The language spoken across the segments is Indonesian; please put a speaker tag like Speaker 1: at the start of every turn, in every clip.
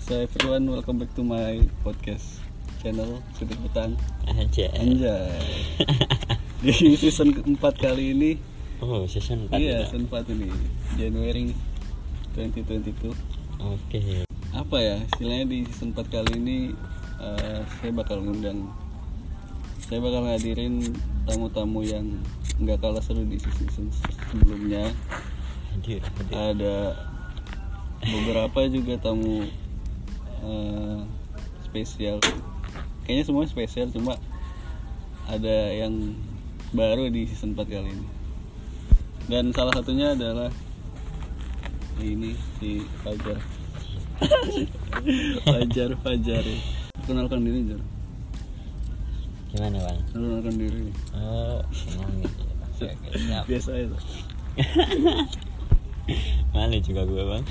Speaker 1: So everyone, welcome back to my podcast channel Sudut Petang
Speaker 2: aja
Speaker 1: Anjay Di season keempat kali ini
Speaker 2: oh season 4
Speaker 1: Iya, season 4 ini Januari 2022
Speaker 2: oke
Speaker 1: Apa ya, istilahnya di season 4 kali ini eh, Saya bakal ngundang Saya bakal ngadirin tamu-tamu yang nggak kalah seru di season sebelumnya
Speaker 2: hadir hadir
Speaker 1: ada beberapa juga tamu eh, spesial kayaknya semua spesial cuma ada yang baru di season 4 kali ini dan salah satunya adalah ini si Fajar Fajar Fajar ya. kenalkan diri Jar
Speaker 2: gimana bang
Speaker 1: kenalkan diri
Speaker 2: oh ngomongin aja, Bang. Oke, oke,
Speaker 1: eh,
Speaker 2: siap.
Speaker 1: biasa aja
Speaker 2: malu juga gue bang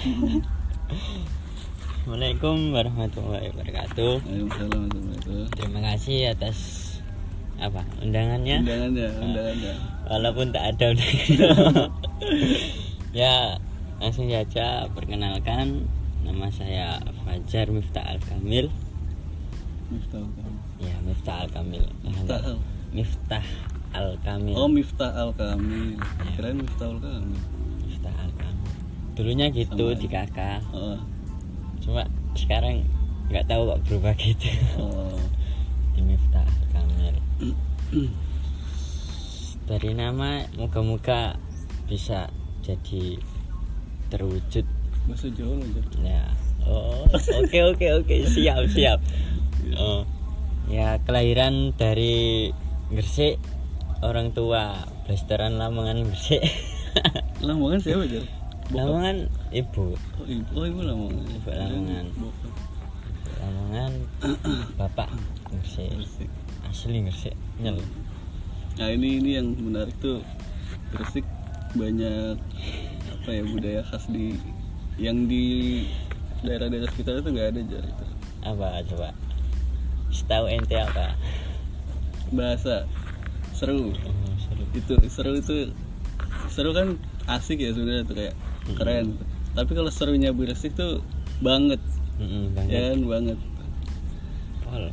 Speaker 2: Assalamualaikum warahmatullahi wabarakatuh
Speaker 1: Waalaikumsalam warahmatullahi
Speaker 2: terima kasih atas apa undangannya Nah,
Speaker 1: undangannya
Speaker 2: Ya.
Speaker 1: undangannya
Speaker 2: walaupun tak ada udah ya langsung saja perkenalkan nama saya Fajar Miftah Al Kamil
Speaker 1: Miftah Al-Kamil.
Speaker 2: ya Miftah Al Kamil
Speaker 1: Miftah Al.
Speaker 2: Miftah Al Kamil
Speaker 1: Oh Miftah Al Kamil. Kirain Miftah Al Kamil.
Speaker 2: Miftah Al Kamil dulunya gitu
Speaker 1: Sama
Speaker 2: di kakak
Speaker 1: Oh,
Speaker 2: cuma sekarang nggak tahu kok berubah gitu
Speaker 1: oh.
Speaker 2: di Miftah Al Kamil dari nama moga-moga bisa jadi terwujud
Speaker 1: Bahasa Jawa lo Jar.
Speaker 2: Ya. Oh, oke oke oke, siap siap. Oh. Ya, kelahiran dari Gresik, orang tua blasteran Lamongan Gresik.
Speaker 1: Lamongan siapa Jar? Bokap.
Speaker 2: Lamongan ibu,
Speaker 1: Oh ibu, oh, ibu Lamongan.
Speaker 2: Ibu Lamongan.
Speaker 1: Bokap.
Speaker 2: Lamongan bapak Gresik.
Speaker 1: Gresik.
Speaker 2: Asli Gresik. Nyel.
Speaker 1: Nah ini ini yang menarik tuh Gresik banyak apa ya budaya khas di yang di daerah-daerah sekitar itu nggak ada Jar itu.
Speaker 2: Apa coba? Setahu ente apa?
Speaker 1: Bahasa seru.
Speaker 2: Oh, seru.
Speaker 1: itu seru itu seru kan asik ya sebenarnya tuh kayak keren tapi kalau serunya Gresik tuh banget
Speaker 2: Mm-mm,
Speaker 1: ya
Speaker 2: banget.
Speaker 1: kan banget
Speaker 2: Pol.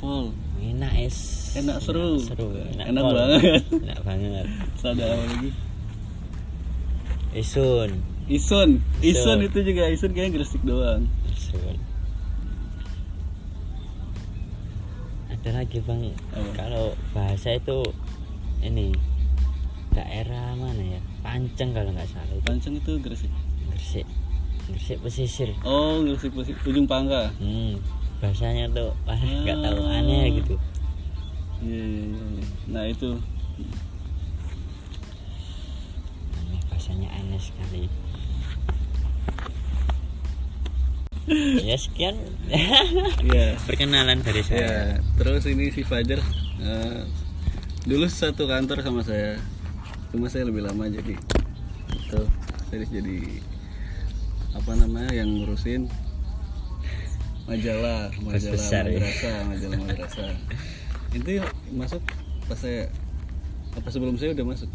Speaker 1: Pol
Speaker 2: Enak es.
Speaker 1: Enak, seru.
Speaker 2: seru.
Speaker 1: Enak
Speaker 2: pol.
Speaker 1: banget.
Speaker 2: Enak banget.
Speaker 1: ada apa lagi
Speaker 2: Isun.
Speaker 1: Isun Isun
Speaker 2: Isun.
Speaker 1: itu juga Isun kayaknya Gresik doang
Speaker 2: Seru. Ada lagi bang,
Speaker 1: Apa?
Speaker 2: kalau bahasa itu ini daerah mana ya? Panceng kalau nggak salah itu
Speaker 1: Panceng itu Gresik
Speaker 2: Gresik, Gresik pesisir.
Speaker 1: oh Gresik Gresik ujung pangka
Speaker 2: Hmm, bahasanya tuh wah nggak tahu
Speaker 1: Ah.
Speaker 2: aneh gitu.
Speaker 1: iya iya iya iya. nah itu
Speaker 2: Aneh, bahasanya aneh sekali. ya sekian
Speaker 1: iya
Speaker 2: perkenalan dari saya.
Speaker 1: Iya, terus ini si Fajar eh, dulu satu kantor sama saya, cuma saya lebih lama jadi tuh saya jadi apa namanya yang ngurusin majalah,
Speaker 2: Bos
Speaker 1: majalah
Speaker 2: besar ya.
Speaker 1: madrasah, majalah madrasah. Itu masuk pas saya apa sebelum saya udah masuk?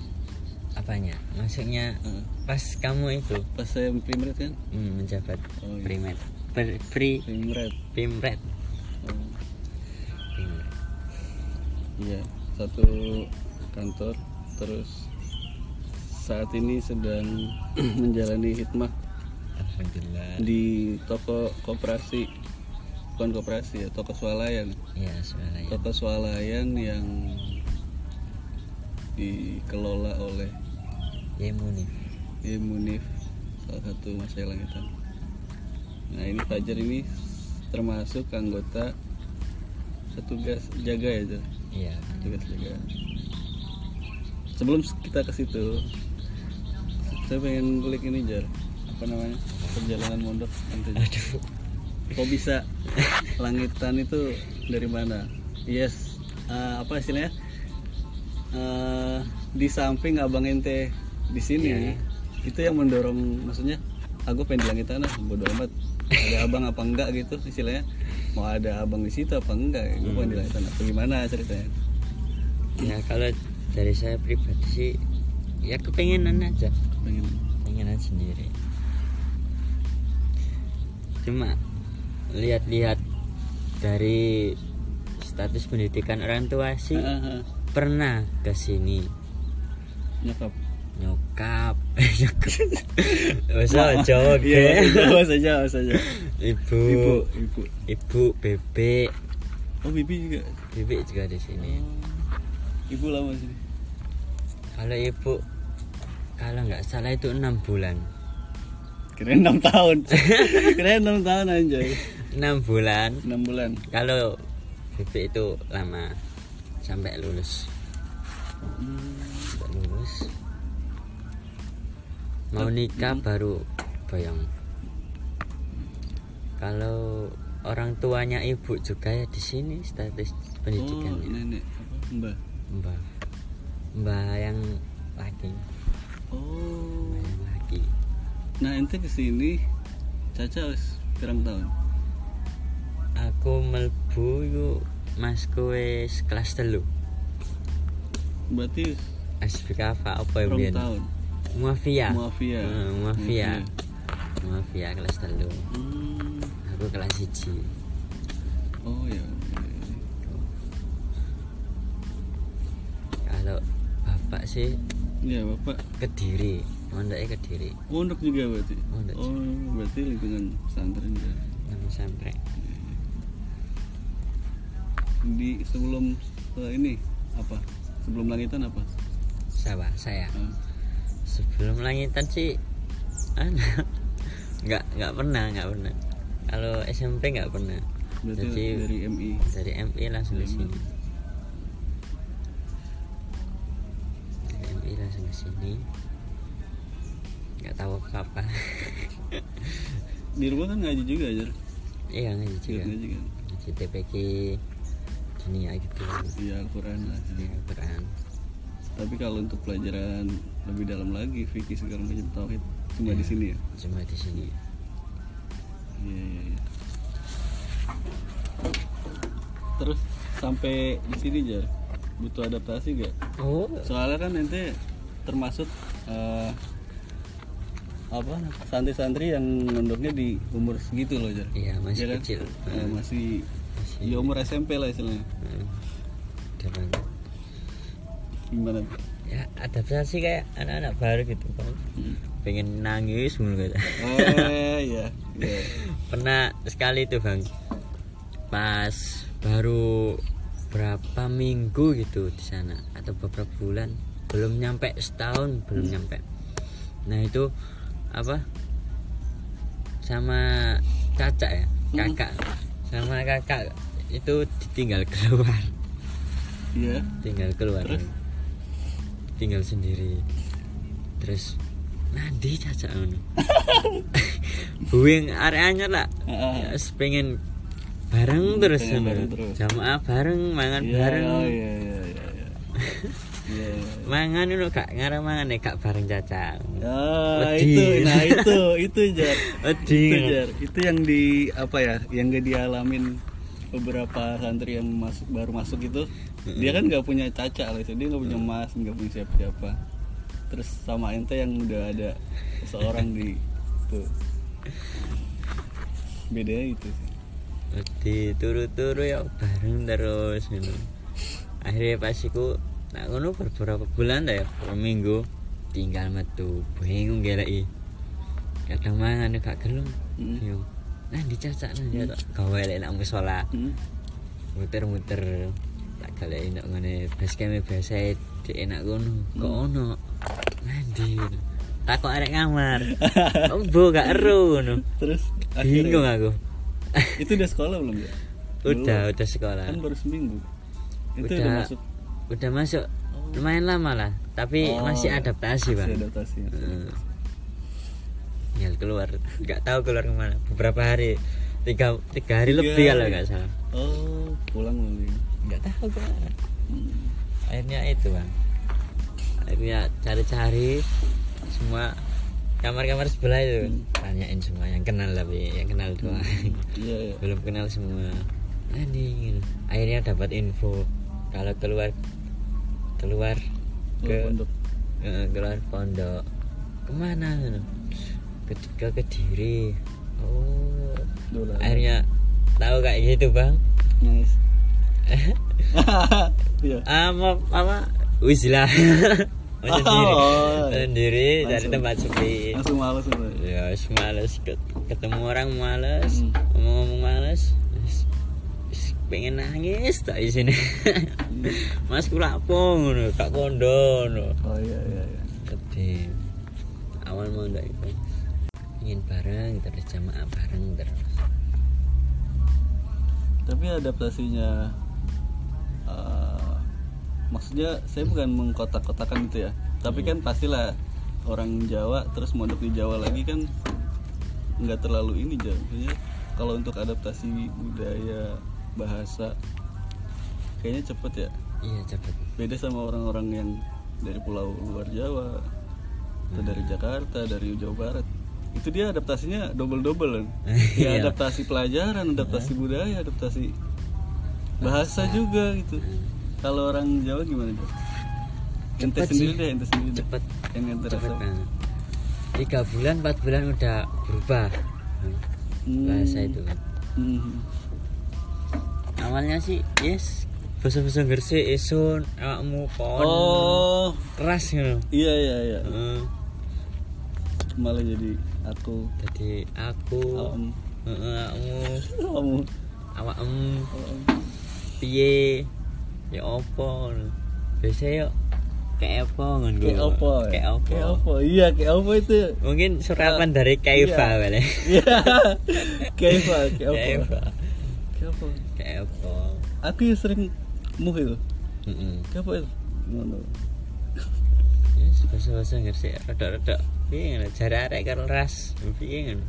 Speaker 2: Apanya? Maksudnya
Speaker 1: Eh,
Speaker 2: pas kamu itu
Speaker 1: pas saya primret kan?
Speaker 2: Hmm, menjabat
Speaker 1: Oh, iya.
Speaker 2: primer per, pri
Speaker 1: Primret.
Speaker 2: pimret
Speaker 1: Oh,
Speaker 2: Pimret.
Speaker 1: Iya, satu kantor terus saat ini sedang menjalani hikmah
Speaker 2: alhamdulillah
Speaker 1: di toko koperasi bukan koperasi ya toko swalayan
Speaker 2: ya sebenarnya
Speaker 1: toko swalayan yang dikelola oleh
Speaker 2: ya muni
Speaker 1: Munif salah satu masih langitan nah ini Fajar ini termasuk anggota petugas jaga ya Jar?
Speaker 2: ya
Speaker 1: Tugas juga. Sebelum kita ke situ, saya pengen kulik ini jar, apa namanya perjalanan mondok nanti. Jar.
Speaker 2: aduh
Speaker 1: Kok bisa langitan itu dari mana? Yes, eh, apa istilahnya? Eh, di samping abang ente di sini, itu yang mendorong, maksudnya, aku pengen di langitan ah, bodo amat. Ada abang apa enggak gitu istilahnya? Mau ada abang di situ apa enggak? Gue pengen di langitan apa gimana ceritanya?
Speaker 2: ya kalau dari saya pribadi sih ya kepengenan aja
Speaker 1: Pengen
Speaker 2: kepengenan sendiri cuma lihat-lihat dari status pendidikan orang tua sih
Speaker 1: Heeh, heeh.
Speaker 2: pernah ke sini
Speaker 1: nyokap
Speaker 2: nyokap nyokap masa jawab
Speaker 1: iya
Speaker 2: ya
Speaker 1: bahasa Jawa bahasa Jawa
Speaker 2: ibu
Speaker 1: ibu ibu
Speaker 2: ibu bebek
Speaker 1: oh bibi juga
Speaker 2: bebek juga di sini
Speaker 1: Hmm. ibu lama di sini
Speaker 2: kalau ibu kalau nggak salah itu enam bulan
Speaker 1: keren enam tahun keren enam tahun anjay
Speaker 2: enam bulan
Speaker 1: enam bulan
Speaker 2: kalau bebek itu lama sampai lulus sampai lulus mau nikah baru boyong kalau orang tuanya ibu juga ya di sini status
Speaker 1: oh
Speaker 2: pendidikannya
Speaker 1: nenek apa mbak
Speaker 2: mbah mbah yang laki
Speaker 1: oh
Speaker 2: mbah yang laki
Speaker 1: nah ente kesini caca wis pirang tahun
Speaker 2: aku melbu iku mas kue kelas telu
Speaker 1: berarti wis
Speaker 2: SBK apa apa ya
Speaker 1: pirang
Speaker 2: Bian?
Speaker 1: tahun
Speaker 2: Muafia.
Speaker 1: Muafia.
Speaker 2: Eh, muafia.
Speaker 1: Muafia.
Speaker 2: Muafia kelas telu.
Speaker 1: Hmm.
Speaker 2: Aku kelas siji.
Speaker 1: oh ya
Speaker 2: Kalau bapak sih
Speaker 1: ya bapak
Speaker 2: Kediri. Mondoknya Kediri.
Speaker 1: Pondok juga berarti.
Speaker 2: Pondok
Speaker 1: Oh, berarti lingkungan pesantren juga.
Speaker 2: Nama sampai
Speaker 1: Di sebelum eh, ini apa? Sebelum langitan apa?
Speaker 2: Sawah saya.
Speaker 1: Ah,
Speaker 2: Sebelum langitan sih anak nggak nggak pernah nggak pernah. Kalau SMP nggak pernah.
Speaker 1: berarti
Speaker 2: Jadi
Speaker 1: dari MI.
Speaker 2: dari MI langsung ke sini. Dari MI langsung ke sini. Nggak tahu apa apa.
Speaker 1: Di rumah kan ngaji juga aja.
Speaker 2: Iya ngaji juga.
Speaker 1: Ngaji kan.
Speaker 2: Ngaji TPK dunia gitu.
Speaker 1: Iya Al-Qur'an lah.
Speaker 2: Dunia Quran.
Speaker 1: Tapi kalau untuk pelajaran lebih dalam lagi fikih segala macam tauhid cuma
Speaker 2: Iya.
Speaker 1: di sini ya.
Speaker 2: Cuma di sini.
Speaker 1: Iya iya iya. Terus sampai di sini Jar. Butuh adaptasi gak?
Speaker 2: Oh.
Speaker 1: soalnya kan nanti termasuk eh, apa santri-santri yang mondoknya di umur segitu loh Jar.
Speaker 2: Iya masih
Speaker 1: Iya kan?
Speaker 2: kecil.
Speaker 1: Eh,
Speaker 2: Hmm,
Speaker 1: masih
Speaker 2: masih.
Speaker 1: ya umur SMP lah istilahnya
Speaker 2: Hmm. Udah banget.
Speaker 1: gimana
Speaker 2: Ya adaptasi kayak anak-anak baru gitu kan.
Speaker 1: Hmm.
Speaker 2: Pengen nangis mulu gitu.
Speaker 1: eh ya ya.
Speaker 2: Pernah sekali tuh bang. Pas baru berapa minggu gitu di sana atau beberapa bulan belum nyampe setahun belum nyampe nah itu apa sama caca ya kakak sama kakak itu ditinggal keluar
Speaker 1: Iya.
Speaker 2: tinggal keluar
Speaker 1: Terus?
Speaker 2: tinggal sendiri terus nanti caca ngono buing areanya lah
Speaker 1: Ah, ah.
Speaker 2: Ya, pengen bareng terus
Speaker 1: pengen
Speaker 2: ngono.
Speaker 1: bareng terus.
Speaker 2: jamaah bareng mangan
Speaker 1: Iya,
Speaker 2: bareng
Speaker 1: oh, iya iya iya iya. Iya, iya.
Speaker 2: mangan itu gak ngarang mangan ya gak bareng caca
Speaker 1: Ah,
Speaker 2: Wedi.
Speaker 1: itu nah itu itu Jar
Speaker 2: Wedi.
Speaker 1: itu Jar itu yang di apa ya yang gak dialamin beberapa santri yang masuk baru masuk itu dia kan nggak punya caca lah itu dia nggak punya mas nggak punya siapa siapa terus sama ente yang udah ada seorang di tuh bedanya ya itu sih
Speaker 2: Wedi turu-turu ya bareng terus gitu. Akhirnya pas iku nak ngono beberapa bulan dah ya, per minggu tinggal metu bingung geleki. Kadang mangan gak gelem.
Speaker 1: Mm.
Speaker 2: Yo. Nah dicacak nah dicacak. Gawe lek nak musola
Speaker 1: Hmm.
Speaker 2: muter-muter tak galek nak ngene basecamp biasa di enak ngono.
Speaker 1: Hmm.
Speaker 2: Kok ono? Nanti. Takok arek kamar. Embo gak eru ngono.
Speaker 1: terus
Speaker 2: Bingung
Speaker 1: akhirnya
Speaker 2: aku.
Speaker 1: itu udah sekolah belum ya
Speaker 2: Udah, udah sekolah.
Speaker 1: kan baru seminggu itu udah,
Speaker 2: udah
Speaker 1: masuk
Speaker 2: udah masuk lumayan lama lah tapi
Speaker 1: Oh,
Speaker 2: masih adaptasi
Speaker 1: masih
Speaker 2: bang Mm.
Speaker 1: adaptasi
Speaker 2: Heeh. ya keluar nggak tahu keluar kemana beberapa hari tiga tiga hari
Speaker 1: Tiga
Speaker 2: lebih kalau
Speaker 1: hari.
Speaker 2: nggak salah
Speaker 1: Iya, oh pulang lagi
Speaker 2: nggak tahu kemana Hmm. akhirnya itu bang akhirnya cari-cari semua kamar-kamar sebelah itu tanyain semua yang kenal tapi yang kenal doang Hmm.
Speaker 1: iya iya
Speaker 2: belum kenal semua anjing akhirnya dapat info kalau keluar keluar
Speaker 1: Pulang
Speaker 2: ke
Speaker 1: pondok
Speaker 2: eh, keluar pondok kemana ke, ke gitu? kediri oh
Speaker 1: Dulu.
Speaker 2: akhirnya tahu kayak gitu bang
Speaker 1: Nice. Iya.
Speaker 2: ama Ah, apa wislah sendiri
Speaker 1: Oh.
Speaker 2: sendiri dari
Speaker 1: Langsung.
Speaker 2: tempat sepi
Speaker 1: Langsung malu sebenarnya.
Speaker 2: ya wis males Ket- ketemu orang males
Speaker 1: Hmm.
Speaker 2: ngomong-ngomong males Wis- wis pengen nangis tak di sini mas ku lapo ngono kak kondo ngono
Speaker 1: Oh iya iya iya.
Speaker 2: Gede. awal mau ndak itu ingin bareng terus jamaah bareng terus
Speaker 1: Tapi adaptasinya eh, maksudnya saya bukan mengkotak-kotakan gitu ya. Tapi
Speaker 2: Hmm.
Speaker 1: kan pastilah orang Jawa terus mondok di Jawa lagi kan nggak terlalu ini Jawa. Maksudnya kalau untuk adaptasi budaya bahasa kayaknya cepet ya.
Speaker 2: iya cepet
Speaker 1: Beda sama orang-orang yang dari pulau luar Jawa atau dari
Speaker 2: Hmm.
Speaker 1: Jakarta, dari Jawa Barat. Itu dia adaptasinya double-double kan. ya
Speaker 2: Iya.
Speaker 1: adaptasi pelajaran adaptasi budaya adaptasi bahasa juga gitu kalau orang Jawa gimana Jawa? ente
Speaker 2: Cepet
Speaker 1: sendiri
Speaker 2: sih.
Speaker 1: deh ente sendiri deh
Speaker 2: cepet
Speaker 1: yang ente
Speaker 2: cepet kan?
Speaker 1: rasa
Speaker 2: banget tiga bulan empat bulan udah berubah
Speaker 1: Hmm.
Speaker 2: bahasa itu kan
Speaker 1: Hmm.
Speaker 2: awalnya sih yes basa-basa gersik isun awakmu kon
Speaker 1: oh
Speaker 2: keras ngono
Speaker 1: iya iya iya
Speaker 2: Heeh.
Speaker 1: malah jadi aku
Speaker 2: jadi aku
Speaker 1: om
Speaker 2: heeh awakmu
Speaker 1: kamu
Speaker 2: awakmu piye ya opo ngono biasa yo kayak apa ngono
Speaker 1: kayak apa
Speaker 2: kayak apa
Speaker 1: kayak apa iya kayak apa itu
Speaker 2: mungkin serapan dari Kaifa
Speaker 1: Iya.
Speaker 2: boleh
Speaker 1: iya kayak apa kayak apa
Speaker 2: Kaifa
Speaker 1: kayak apa
Speaker 2: kayak apa
Speaker 1: aku yang sering muhil
Speaker 2: Heeh.
Speaker 1: kayak apa itu ngono
Speaker 2: yes basa-basa gersik rada-rada piye ngono jare arek karo ras piye ngono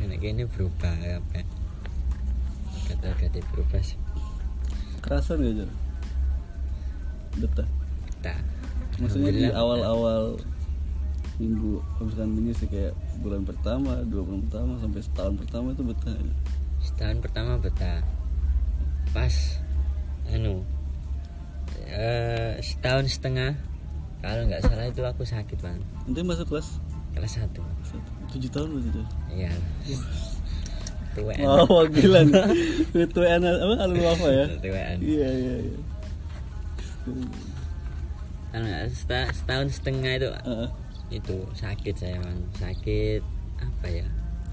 Speaker 2: Nek kene berubah apa kata-kata berubah sih
Speaker 1: kerasan gak Jar? betah
Speaker 2: Nah,
Speaker 1: maksudnya di
Speaker 2: alhamdulillah.
Speaker 1: awal-awal minggu pemeriksaan minggu sih kayak bulan pertama dua bulan pertama sampai setahun pertama itu betah ya?
Speaker 2: setahun pertama betah pas anu eh, setahun setengah kalau nggak salah itu aku sakit bang
Speaker 1: nanti masuk kelas
Speaker 2: kelas satu
Speaker 1: satu- tujuh tahun berarti Oh, tuh
Speaker 2: iya tuwean
Speaker 1: wah wah, gila nih itu enak apa alumni apa ya
Speaker 2: tuwean
Speaker 1: iya iya iya
Speaker 2: Kalau nggak seta- setahun setengah itu
Speaker 1: Ah,
Speaker 2: itu sakit saya bang sakit apa ya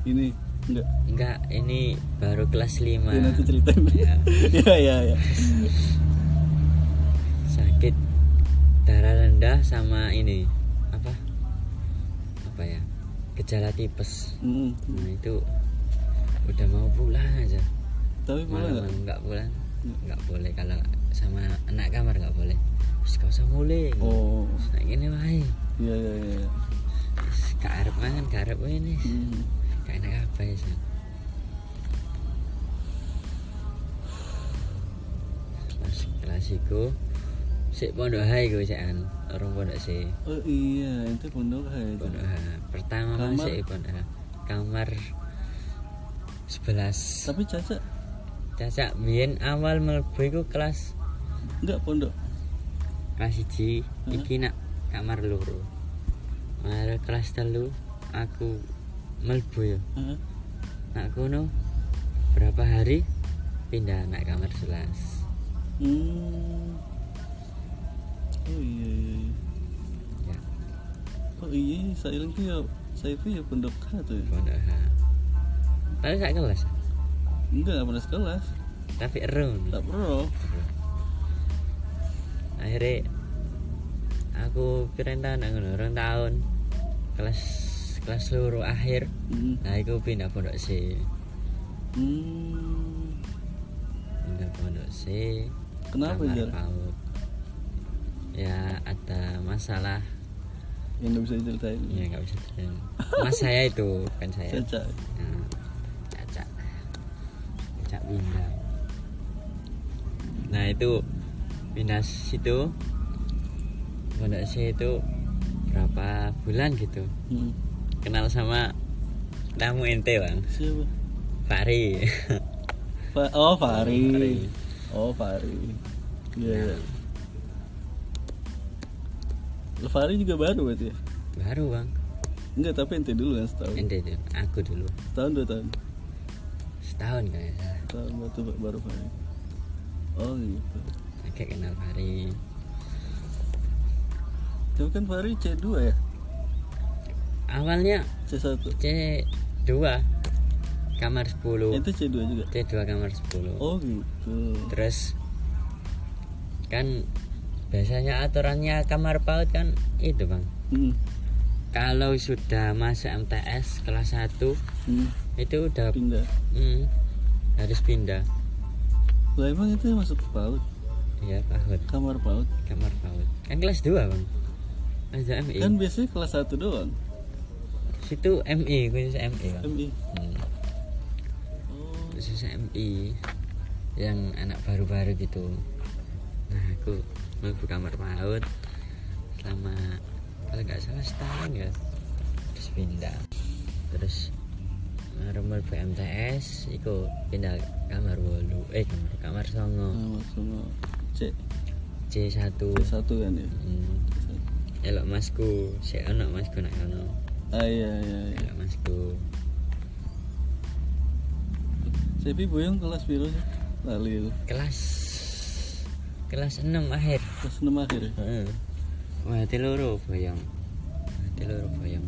Speaker 1: ini enggak
Speaker 2: enggak ini baru kelas lima
Speaker 1: ya, nanti ceritain
Speaker 2: Iya.
Speaker 1: iya iya iya
Speaker 2: sakit darah rendah sama ini apa apa ya gejala tipes
Speaker 1: Mm,
Speaker 2: nah itu udah mau pulang aja
Speaker 1: tapi boleh
Speaker 2: malam
Speaker 1: nggak
Speaker 2: nggak pulang nggak boleh kalau sama anak kamar nggak boleh terus kau usah mulai
Speaker 1: oh
Speaker 2: Terus kayak gini wae
Speaker 1: iya iya iya
Speaker 2: Terus gak arep mangan gak arep ini
Speaker 1: Mm.
Speaker 2: gak enak apa ya Jan. terus kelas iku sik pondok hai gue sik an orang pondok sih
Speaker 1: oh iya itu pondok hai itu
Speaker 2: pondok hai pertama
Speaker 1: Kamar?
Speaker 2: masih pondok hai kamar 11
Speaker 1: tapi caca
Speaker 2: Caca biyen awal mlebu iku kelas
Speaker 1: enggak pondok
Speaker 2: kelas 1
Speaker 1: Hmm.
Speaker 2: iki nak kamar loro. Mare kelas telu aku mlebu ya.
Speaker 1: Heeh.
Speaker 2: Nak kono berapa hari pindah nak kamar 11.
Speaker 1: Hmm. Oh iya, iya. iya.
Speaker 2: Ya,
Speaker 1: Oh iya, iya, saya itu ya, saya itu ya pondok K tuh ya.
Speaker 2: pondok ha. Tapi sak kelas,
Speaker 1: Enggak, nggak pernah sekelas.
Speaker 2: tapi erung.
Speaker 1: Tak pro.
Speaker 2: Akhirnya aku kira tahun nak ngono, rong tahun. Kelas kelas loro akhir.
Speaker 1: Hmm.
Speaker 2: Nah, aku pindah pondok sih.
Speaker 1: Hmm.
Speaker 2: Pindah pondok sih.
Speaker 1: Kenapa
Speaker 2: kamar
Speaker 1: Jar?
Speaker 2: PAUD. ya ada masalah
Speaker 1: Yang nggak bisa diceritain.
Speaker 2: ya nggak bisa terjadi mas saya itu bukan saya
Speaker 1: Caca.
Speaker 2: Nah, caca caca pindah nah itu pindah situ pondok saya itu berapa bulan gitu
Speaker 1: Hmm.
Speaker 2: kenal sama tamu ente bang
Speaker 1: Siapa?
Speaker 2: Fahri
Speaker 1: Fa- oh,
Speaker 2: Fahri.
Speaker 1: Fari. Oh, Fari. Iya. iya. Lo Fari juga baru berarti ya?
Speaker 2: baru bang
Speaker 1: Enggak, tapi ente dulu kan setahun.
Speaker 2: ente dulu aku dulu
Speaker 1: Setahun dua tahun.
Speaker 2: setahun kalau nggak salah
Speaker 1: Setahun batu ba- baru Fahri. Oh gitu.
Speaker 2: agak kenal Fahri
Speaker 1: Tapi kan Fahri C2 ya?
Speaker 2: awalnya
Speaker 1: C1.
Speaker 2: C2 kamar 10
Speaker 1: Itu C2 juga.
Speaker 2: C2 kamar 10
Speaker 1: Oh gitu.
Speaker 2: terus kan biasanya aturannya kamar PAUD kan itu bang
Speaker 1: Hmm.
Speaker 2: kalau sudah masuk MTS kelas 1
Speaker 1: Hmm.
Speaker 2: itu udah
Speaker 1: Pindah.
Speaker 2: mm, harus pindah
Speaker 1: Lah emang itu masuk PAUD,
Speaker 2: ya PAUD
Speaker 1: kamar PAUD.
Speaker 2: kamar PAUD kan kelas 2 bang kelas 2 MI
Speaker 1: Kan biasanya kelas 1 doang.
Speaker 2: situ MI khusus MI bang
Speaker 1: MI.
Speaker 2: Hmm,
Speaker 1: Oh.
Speaker 2: khusus MI yang anak baru-baru gitu nah aku mau kamar PAUD selama kalau nggak salah setahun ya terus pindah terus rumah BMTS itu pindah kamar wolu eh kamar kamar songo
Speaker 1: Nah, sama C
Speaker 2: C1
Speaker 1: C1 kan ya.
Speaker 2: Hmm. elok masku si anak masku nak ono
Speaker 1: Ah iya iya iya.
Speaker 2: elok masku
Speaker 1: Tapi Boyong kelas biru sih. Lali itu.
Speaker 2: kelas kelas 6 akhir
Speaker 1: Kelas 6 akhir ya.
Speaker 2: Heeh. wah hati loro boyong hati loro boyong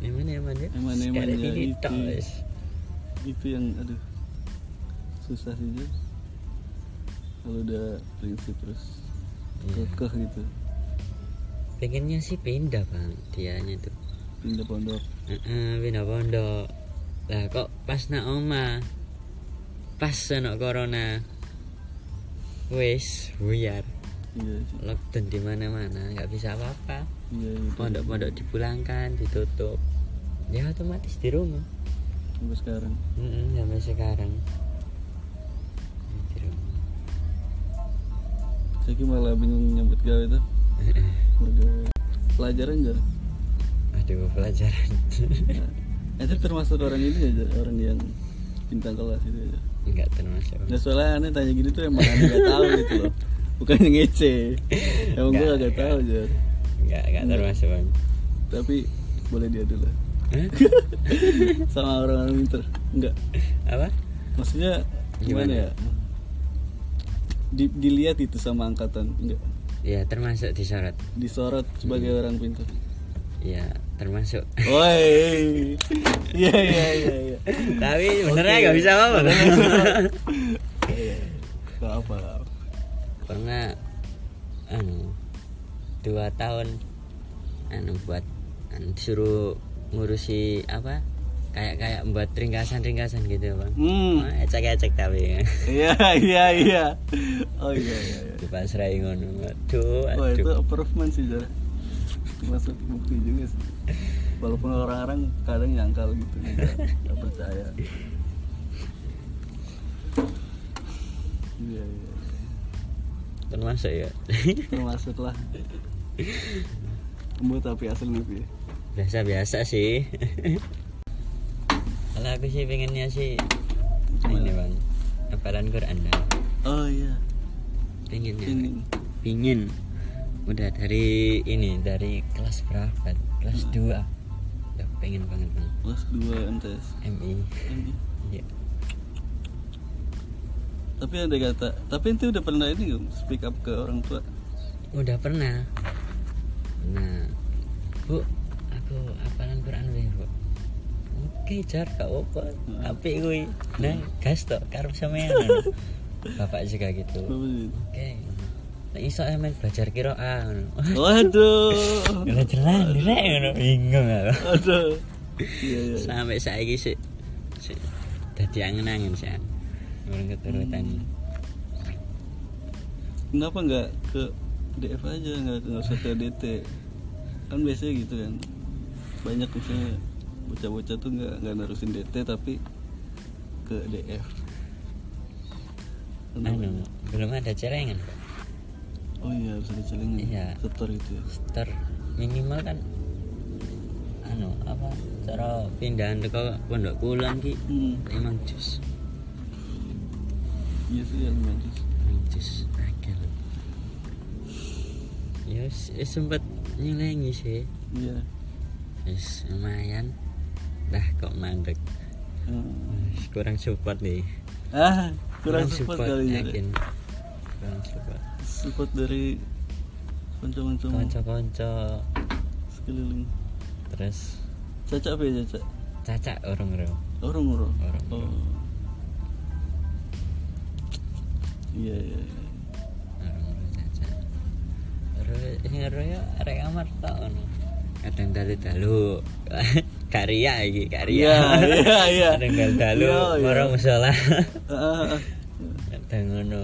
Speaker 2: Eman eman ya.
Speaker 1: Eman, eman,
Speaker 2: Sekarang
Speaker 1: ya,
Speaker 2: ini
Speaker 1: itu.
Speaker 2: tok, wes.
Speaker 1: Itu yang aduh. Susah sih Jun. Kalau udah prinsip terus
Speaker 2: Iya.
Speaker 1: kekeh gitu.
Speaker 2: Pengennya sih pindah bang, dianya tuh.
Speaker 1: Pindah pondok.
Speaker 2: Heeh, pindah pondok. Lah kok pas nak oma. Pas ono corona. Wis buyar.
Speaker 1: Iya sih.
Speaker 2: Lockdown di mana-mana, nggak bisa apa-apa.
Speaker 1: Iya gitu.
Speaker 2: Pondok-pondok dipulangkan, ditutup. Ya otomatis di rumah.
Speaker 1: Sampai sekarang.
Speaker 2: Mm-mm, sampai sekarang. Di rumah.
Speaker 1: Saya malah bingung nyambut gawe tuh.
Speaker 2: Heeh.
Speaker 1: Bergawe. Pelajaran enggak?
Speaker 2: Aduh, pelajaran.
Speaker 1: Nah, itu termasuk orang ini aja, orang yang bintang kelas itu ya, aja.
Speaker 2: Enggak termasuk.
Speaker 1: Nah, soalnya aneh tanya gini tuh emang aneh gak tahu gitu loh. Bukan yang ngece. Emang gue
Speaker 2: Nggak,
Speaker 1: agak
Speaker 2: nggak.
Speaker 1: tahu aja.
Speaker 2: Enggak, enggak termasuk, Bang.
Speaker 1: Tapi boleh dia dulu.
Speaker 2: Hah?
Speaker 1: Sama orang-orang pinter. Enggak.
Speaker 2: Apa?
Speaker 1: Maksudnya gimana,
Speaker 2: Gimana?
Speaker 1: ya? Di, dilihat itu sama angkatan. Enggak.
Speaker 2: Ya, termasuk disorot.
Speaker 1: Disorot
Speaker 2: Iya.
Speaker 1: sebagai orang pinter.
Speaker 2: Ya, termasuk.
Speaker 1: Woi. Iya iya iya iya.
Speaker 2: Tapi benernya nggak bisa apa-apa.
Speaker 1: Iya. Gak apa. nggak apa.
Speaker 2: Pernah anu dua tahun anu buat anu, disuruh ngurusi apa kayak kayak buat ringkasan ringkasan gitu bang.
Speaker 1: Hmm.
Speaker 2: Ecek ecek tapi ya.
Speaker 1: Iya iya iya. Oh iya iya. iya.
Speaker 2: di pasrai ngono. Aduh,
Speaker 1: Wah itu
Speaker 2: aduh.
Speaker 1: improvement sih Jar. Masuk bukti juga sih. Walaupun orang-orang kadang nyangkal gitu juga nggak percaya. Iya iya.
Speaker 2: Termasuk ya.
Speaker 1: Termasuk lah. Embu tapi asal lebih.
Speaker 2: biasa biasa sih. Kalau aku sih pengennya sih ini bang apalan Quran dah.
Speaker 1: Oh iya.
Speaker 2: pengen ya
Speaker 1: Pengen.
Speaker 2: pingin udah dari ini dari kelas berapa
Speaker 1: Nah.
Speaker 2: kelas 2 udah pengen banget bang
Speaker 1: Kelas 2 MTS.
Speaker 2: MI
Speaker 1: Ini.
Speaker 2: iya
Speaker 1: Tapi ada kata, tapi itu udah pernah ini nggak speak up ke orang tua?
Speaker 2: Oh, udah pernah nah bu aku apalan Quran weh bu oke jar gak apa apa gue nah gas tok karep sampean bapak juga gitu
Speaker 1: Apa sih?
Speaker 2: oke nah iso emang belajar kiroan
Speaker 1: Waduh.
Speaker 2: jelas jelas rek bingung aku
Speaker 1: Aduh. Iya iya.
Speaker 2: sampai saiki sih sih dadi angen-angen sih orang keturutan
Speaker 1: Kenapa nggak ke DF aja nggak nggak usah ke DT? Kan biasanya gitu kan. Banyak misalnya bocah-bocah tuh nggak nggak narusin DT tapi ke DF. Kenapa?
Speaker 2: anu belum ada celengan Pak.
Speaker 1: Oh iya harus ada celengan.
Speaker 2: Iya.
Speaker 1: Setor gitu ya.
Speaker 2: Setor minimal kan anu apa cara pindahan ke pondok kulon ki
Speaker 1: Hmm.
Speaker 2: limang jus
Speaker 1: Iya sih yang manis.
Speaker 2: limang jus agak ya wis- wis sempet eh, nyelengi sih
Speaker 1: iya
Speaker 2: Wis lumayan. Dah kok mandek.
Speaker 1: Hmm.
Speaker 2: Wis, Kurang support nih.
Speaker 1: ah kurang support kali ya
Speaker 2: yakin. Kurang support.
Speaker 1: support dari teman-teman
Speaker 2: Konco-konco
Speaker 1: sekeliling
Speaker 2: terus
Speaker 1: caca apa ya caca
Speaker 2: caca orang orang
Speaker 1: orang orang
Speaker 2: Orang.
Speaker 1: oh iya iya iya.
Speaker 2: orang orang caca terus ini orang ya rek amar tak ono kadang dalu dalu karya iki karya
Speaker 1: Iya, iya, iya.
Speaker 2: kadang dalu dalu
Speaker 1: Iya, iya.
Speaker 2: orang musola
Speaker 1: Ah, ah, ah.
Speaker 2: kadang ngono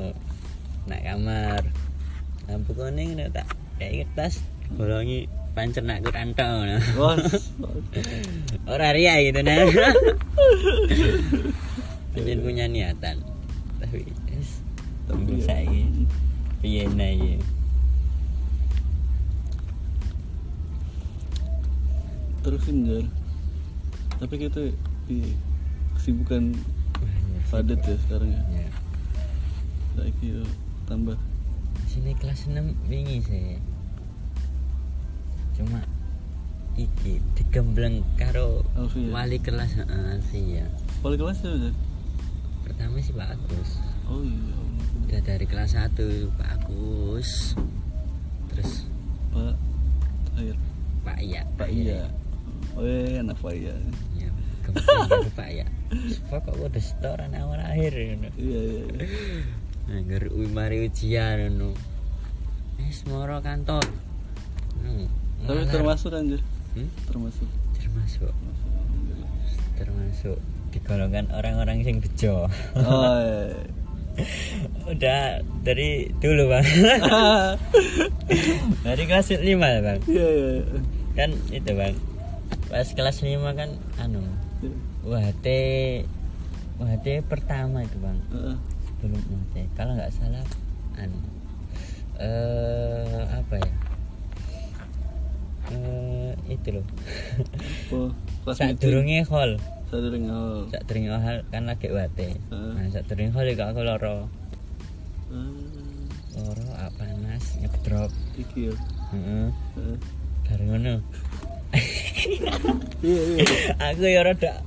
Speaker 2: nak kamar lampu kuning nek tak kayak kertas bolongi pancen nak kurang tau no.
Speaker 1: Wah,
Speaker 2: Orang ria gitu nah. Pengen punya niatan. Tapi yes.
Speaker 1: Tapi
Speaker 2: Tapi
Speaker 1: ya.
Speaker 2: saiki piye nah iki?
Speaker 1: terusin jar tapi kita di kesibukan padat ya sekarang ya
Speaker 2: Ya.
Speaker 1: lagi tambah
Speaker 2: Sini kelas 6 wingi sih. Cuma iki digembleng karo
Speaker 1: Alfi ya?
Speaker 2: wali kelas heeh Alfi ya.
Speaker 1: wali kelas ya Jar?
Speaker 2: Pertama sih Pak Agus.
Speaker 1: oh iya
Speaker 2: Udah dari kelas 1 Pak Agus. Terus
Speaker 1: pak air
Speaker 2: Pak Iya.
Speaker 1: pak iya oh iya anak pak iya
Speaker 2: Ya, kembali ke Pak ya. Pokok udah setoran awal akhir ngono.
Speaker 1: iya iya iya.
Speaker 2: Angger u- mari ujian ngono. Wis moro kantor. Hmm,
Speaker 1: tapi
Speaker 2: ngalar.
Speaker 1: termasuk anjir
Speaker 2: Hmm?
Speaker 1: termasuk termasuk,
Speaker 2: termasuk
Speaker 1: alhamdulillah.
Speaker 2: termasuk digolongkan orang-orang yang bejo.
Speaker 1: oh iya, iya.
Speaker 2: udah dari dulu, Bang.
Speaker 1: Ah,
Speaker 2: dari kelas 5, Bang.
Speaker 1: iya iya iya.
Speaker 2: Kan itu, Bang. Pas kelas 5 kan anu,
Speaker 1: Iya.
Speaker 2: UHT UHT pertama itu, Bang.
Speaker 1: Ah, ah.
Speaker 2: sebelum UT kalau nggak salah anu eh apa ya eh itu loh
Speaker 1: oh kelas
Speaker 2: saat durungnya hall
Speaker 1: saya durung oh
Speaker 2: saat durungnya hall kan lagi UAT
Speaker 1: Heeh.
Speaker 2: nah saat durungnya hall ya aku loro
Speaker 1: Ah,
Speaker 2: loro apa panas ngedrop
Speaker 1: iki ya
Speaker 2: Heeh.
Speaker 1: Ah.
Speaker 2: bareng ngono
Speaker 1: iya iya
Speaker 2: aku ya rada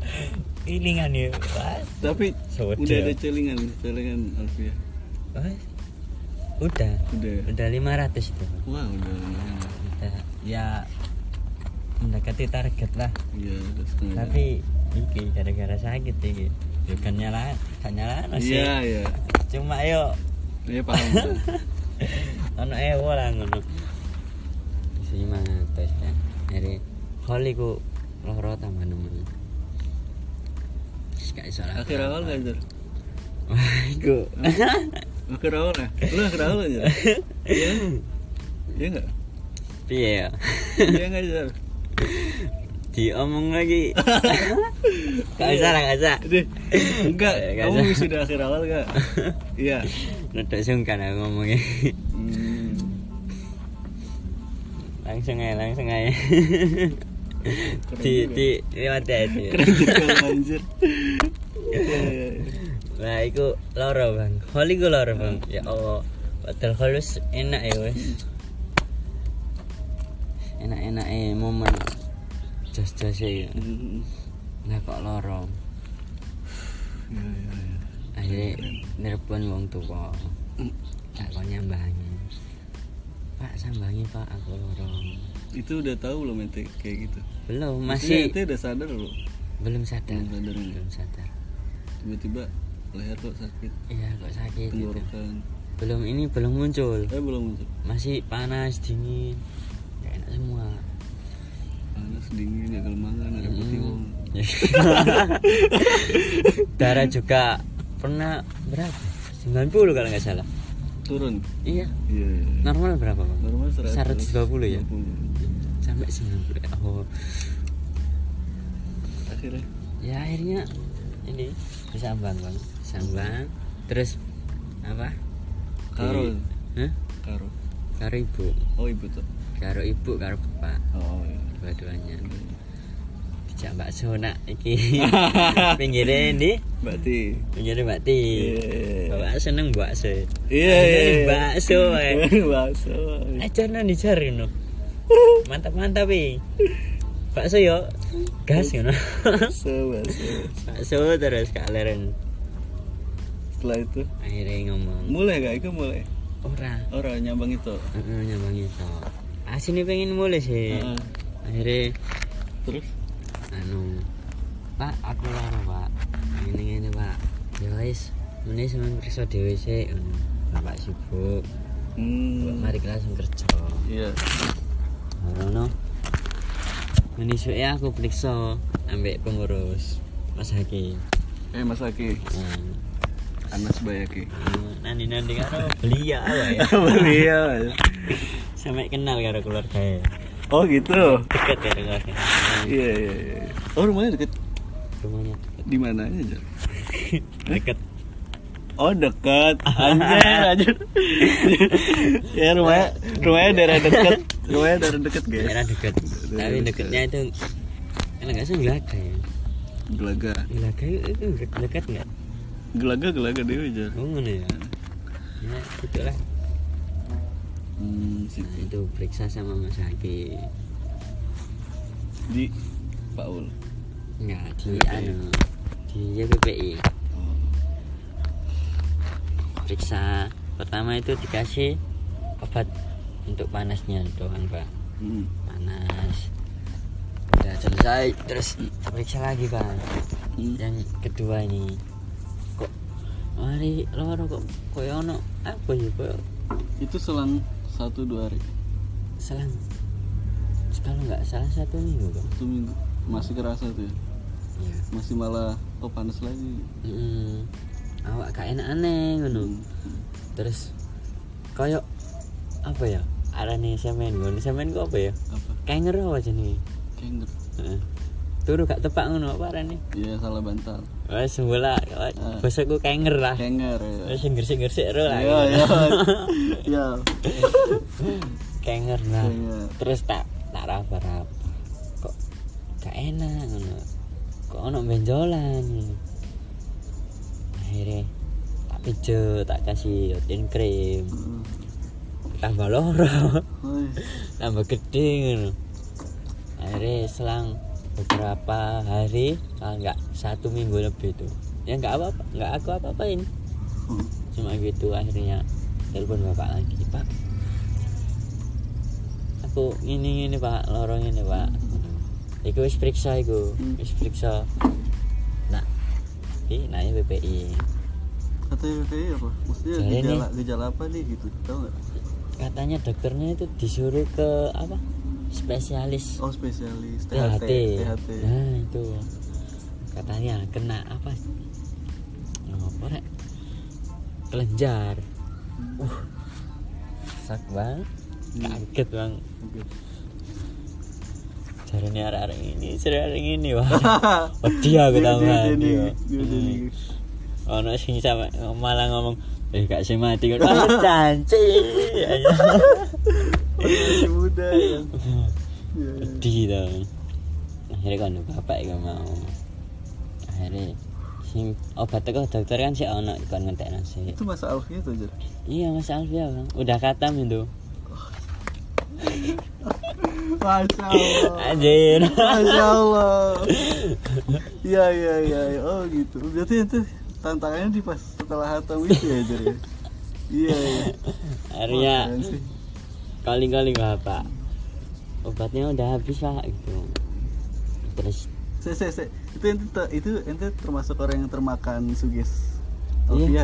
Speaker 2: ilingan ya Wah,
Speaker 1: tapi
Speaker 2: Sewedel.
Speaker 1: udah ada celingan celingan Alfi ya
Speaker 2: wah. udah
Speaker 1: udah ya?
Speaker 2: udah 500 itu
Speaker 1: wah udah lumayan.
Speaker 2: udah ya mendekati target lah
Speaker 1: iya udah setengah
Speaker 2: tapi iki gara-gara sakit iki ya kan nyala kan nyala sih
Speaker 1: iya iya
Speaker 2: cuma yo
Speaker 1: iya paham paham.
Speaker 2: ono ewo lah ngono sih mantes kan dari holi ku loro tambah nemen Terus gak iso lah
Speaker 1: akhir awal gak Jar?
Speaker 2: wah iku
Speaker 1: akhir awal ya lu akhir awal aja iya iya nggak
Speaker 2: piye ya
Speaker 1: iya nggak Jar?
Speaker 2: diomong lagi gak usah lah gak usah
Speaker 1: deh enggak
Speaker 2: Eh, nggak,
Speaker 1: kamu
Speaker 2: Jar.
Speaker 1: sudah akhir awal gak iya
Speaker 2: Rada sungkan aku ngomongnya
Speaker 1: Hmm.
Speaker 2: langsung aja langsung aja
Speaker 1: Keren
Speaker 2: di
Speaker 1: juga.
Speaker 2: di lewat aja di.
Speaker 1: keren juga lu, anjir iya iya iya.
Speaker 2: Nah, iku loro, Bang. Hol iku loro, Bang.
Speaker 1: Hmm.
Speaker 2: Ya Allah. Hotel halus enak ya, wes. Enak-enak eh momen jas-jas ya.
Speaker 1: Hmm.
Speaker 2: Nah, kok loro.
Speaker 1: Iya, iya, iya.
Speaker 2: Akhirnya nelpon wong tuwa. Tak kon nyambangi. Pak sambangi, Pak, aku loro.
Speaker 1: itu udah tahu belum ente kayak gitu
Speaker 2: Belum,
Speaker 1: Maksudnya
Speaker 2: masih
Speaker 1: ente udah sadar loh
Speaker 2: belum sadar.
Speaker 1: Belum sadar, ya?
Speaker 2: Belum sadar.
Speaker 1: tiba-tiba leher kok sakit
Speaker 2: Iya, kok sakit gitu. Iya.
Speaker 1: tenggorokan
Speaker 2: Belum ini belum muncul.
Speaker 1: eh belum muncul
Speaker 2: Masih panas, dingin. Gak enak semua.
Speaker 1: panas dingin ya kalau makan
Speaker 2: Hmm.
Speaker 1: ada putih
Speaker 2: um,
Speaker 1: wong
Speaker 2: Darah juga pernah berapa? 90 kalau nggak salah.
Speaker 1: turun
Speaker 2: Iya.
Speaker 1: iya iya, iya.
Speaker 2: Normal berapa bang?
Speaker 1: normal 100
Speaker 2: 120 ya.
Speaker 1: 120.
Speaker 2: Sampai 90. Oh.
Speaker 1: akhirnya
Speaker 2: Ya akhirnya ini bisa ambang bang. Bisa ambang. Terus apa? Di-
Speaker 1: Karun.
Speaker 2: Hah?
Speaker 1: karo
Speaker 2: Karo ibu.
Speaker 1: oh ibu tuh
Speaker 2: Karo ibu karo bapak.
Speaker 1: oh iya
Speaker 2: Dua-duanya.
Speaker 1: Udah, iya.
Speaker 2: Dijak Mbak Sona iki. Pinggirnya ini.
Speaker 1: Mbak Ti
Speaker 2: Pinggirnya Mbak Ti.
Speaker 1: Iya.
Speaker 2: Bapak seneng bakso.
Speaker 1: iya iya
Speaker 2: Bakso. eh.
Speaker 1: bakso
Speaker 2: Ajar nang dijar no. mantap mantap pi bakso yo gas you know
Speaker 1: Sewa, sewa.
Speaker 2: bakso terus kak leren
Speaker 1: Setelah itu
Speaker 2: akhirnya ngomong
Speaker 1: mulai gak? Itu mulai.
Speaker 2: ora
Speaker 1: Orang nyambang itu.
Speaker 2: Heeh, nyambang itu asini pengen mulai sih
Speaker 1: Heeh.
Speaker 2: akhirnya
Speaker 1: Terus
Speaker 2: anu pak aku lara pak ini ini pak ya wis ini semen periksa dhewe sih Ngono. bapak sibuk Bapak
Speaker 1: hmm.
Speaker 2: mari langsung kerja
Speaker 1: Iya.
Speaker 2: Rono menisuk ya aku periksa ambek pengurus Mas Haki
Speaker 1: Eh Mas Aki, Anas Bayaki.
Speaker 2: nanti nanti Nah, karo belia apa ya
Speaker 1: Iya.
Speaker 2: sampai kenal karo keluarga ya
Speaker 1: Oh gitu.
Speaker 2: deket ya karo keluarga
Speaker 1: Iya iya iya. Oh rumahnya deket
Speaker 2: rumahnya
Speaker 1: di mana aja? Jar?
Speaker 2: deket
Speaker 1: Oh deket, anjir anjir. ya rumahnya rumahnya daerah deket, rumahnya daerah deket guys.
Speaker 2: daerah deket tapi deketnya itu kalau nggak salah gelaga ya
Speaker 1: Gelaga,
Speaker 2: gelaga itu deket- deket nggak
Speaker 1: gelaga gelaga dewi aja.
Speaker 2: oh ngono ya ya gitu lah
Speaker 1: Hmm,
Speaker 2: Nah,
Speaker 1: situ.
Speaker 2: itu periksa sama Mas Haki
Speaker 1: Di Paul.
Speaker 2: nggak di anu di E. YPPI
Speaker 1: Oh.
Speaker 2: periksa pertama itu dikasih obat untuk panasnya doang pak
Speaker 1: Hmm.
Speaker 2: panas udah selesai terus periksa lagi pak
Speaker 1: Hmm.
Speaker 2: yang kedua ini kok mari loro kok koyo ono apa ya koyo
Speaker 1: Itu selang satu dua hari,
Speaker 2: selang kalau nggak salah satu minggu kok
Speaker 1: satu minggu masih kerasa tuh, ya?
Speaker 2: iya
Speaker 1: masih malah oh panas lagi.
Speaker 2: Mm, awak gak enak aneh ngono
Speaker 1: Hmm.
Speaker 2: terus koyo apa ya arane semen ngono semen ku apa ya
Speaker 1: Apa?
Speaker 2: kanger apa jenenge
Speaker 1: Kanger.
Speaker 2: Heeh. turu gak tepak ngono apa arane
Speaker 1: Iya salah bantal.
Speaker 2: wah sembola
Speaker 1: Ah.
Speaker 2: basa ku kanger lah
Speaker 1: Kanger ya.
Speaker 2: wis gersik-gersik ro lah
Speaker 1: Iya iya. Iya.
Speaker 2: kanger lah
Speaker 1: Kanger.
Speaker 2: terus tak tak raba-raba kok gak enak ngono kok ono benjolan ngono. akhirnya tak pijet tak kasih yotin krim
Speaker 1: Hmm.
Speaker 2: tambah loro
Speaker 1: Wih.
Speaker 2: tambah gede ngono akhirnya selang beberapa hari kalau nggak satu minggu lebih itu ya nggak apa, -apa nggak aku apa apain
Speaker 1: Hmm.
Speaker 2: cuma gitu akhirnya telepon bapak lagi pak aku ini ini pak lorong ini pak iku wis periksa iku
Speaker 1: Hmm.
Speaker 2: wis periksa nah di naik BPI
Speaker 1: katanya BPI apa? Maksudnya
Speaker 2: Saya
Speaker 1: gejala gejala apa nih gitu? Tahu nggak?
Speaker 2: katanya dokternya itu disuruh ke apa spesialis
Speaker 1: Oh spesialis THT.
Speaker 2: THT.
Speaker 1: THT.
Speaker 2: Nah, itu. Katanya kena apa? Apa rek? Kelenjar. Uh. Sak banget.
Speaker 1: Hmm.
Speaker 2: Kaget bang.
Speaker 1: Oke.
Speaker 2: Jarane arek-arek ini, arek ini wah. Wedi
Speaker 1: Uh. Dia-
Speaker 2: aku
Speaker 1: dia- dia
Speaker 2: tau
Speaker 1: Hmm.
Speaker 2: mati,
Speaker 1: nih,
Speaker 2: wah.
Speaker 1: dia- dia nih.
Speaker 2: Hmm. Ono sing sama malah ngomong Eh gak sih mati kan Wah canci
Speaker 1: Oh, dia masih muda ya. Iya, iya.
Speaker 2: Pedih tau Akhirnya kan bapak gak mau Akhirnya sing obat teko dokter kan sih ono kon ngetek nasi
Speaker 1: Itu masa Alfie tuh aja.
Speaker 2: Iya Mas Alfia bang, udah katam itu.
Speaker 1: Masya Allah.
Speaker 2: Anjir.
Speaker 1: Masya Allah. Iya iya iya. iya. Oh gitu. Berarti itu tantangannya di pas setelah hatam itu ya Jar, ya? Iya iya. Wah,
Speaker 2: Akhirnya
Speaker 1: keren sih.
Speaker 2: kaling-kaling bapak. Obatnya udah habis pak gitu. Terus
Speaker 1: Se, se, se. Itu ente te- itu ente termasuk orang yang termakan suges. Alfia
Speaker 2: Iya.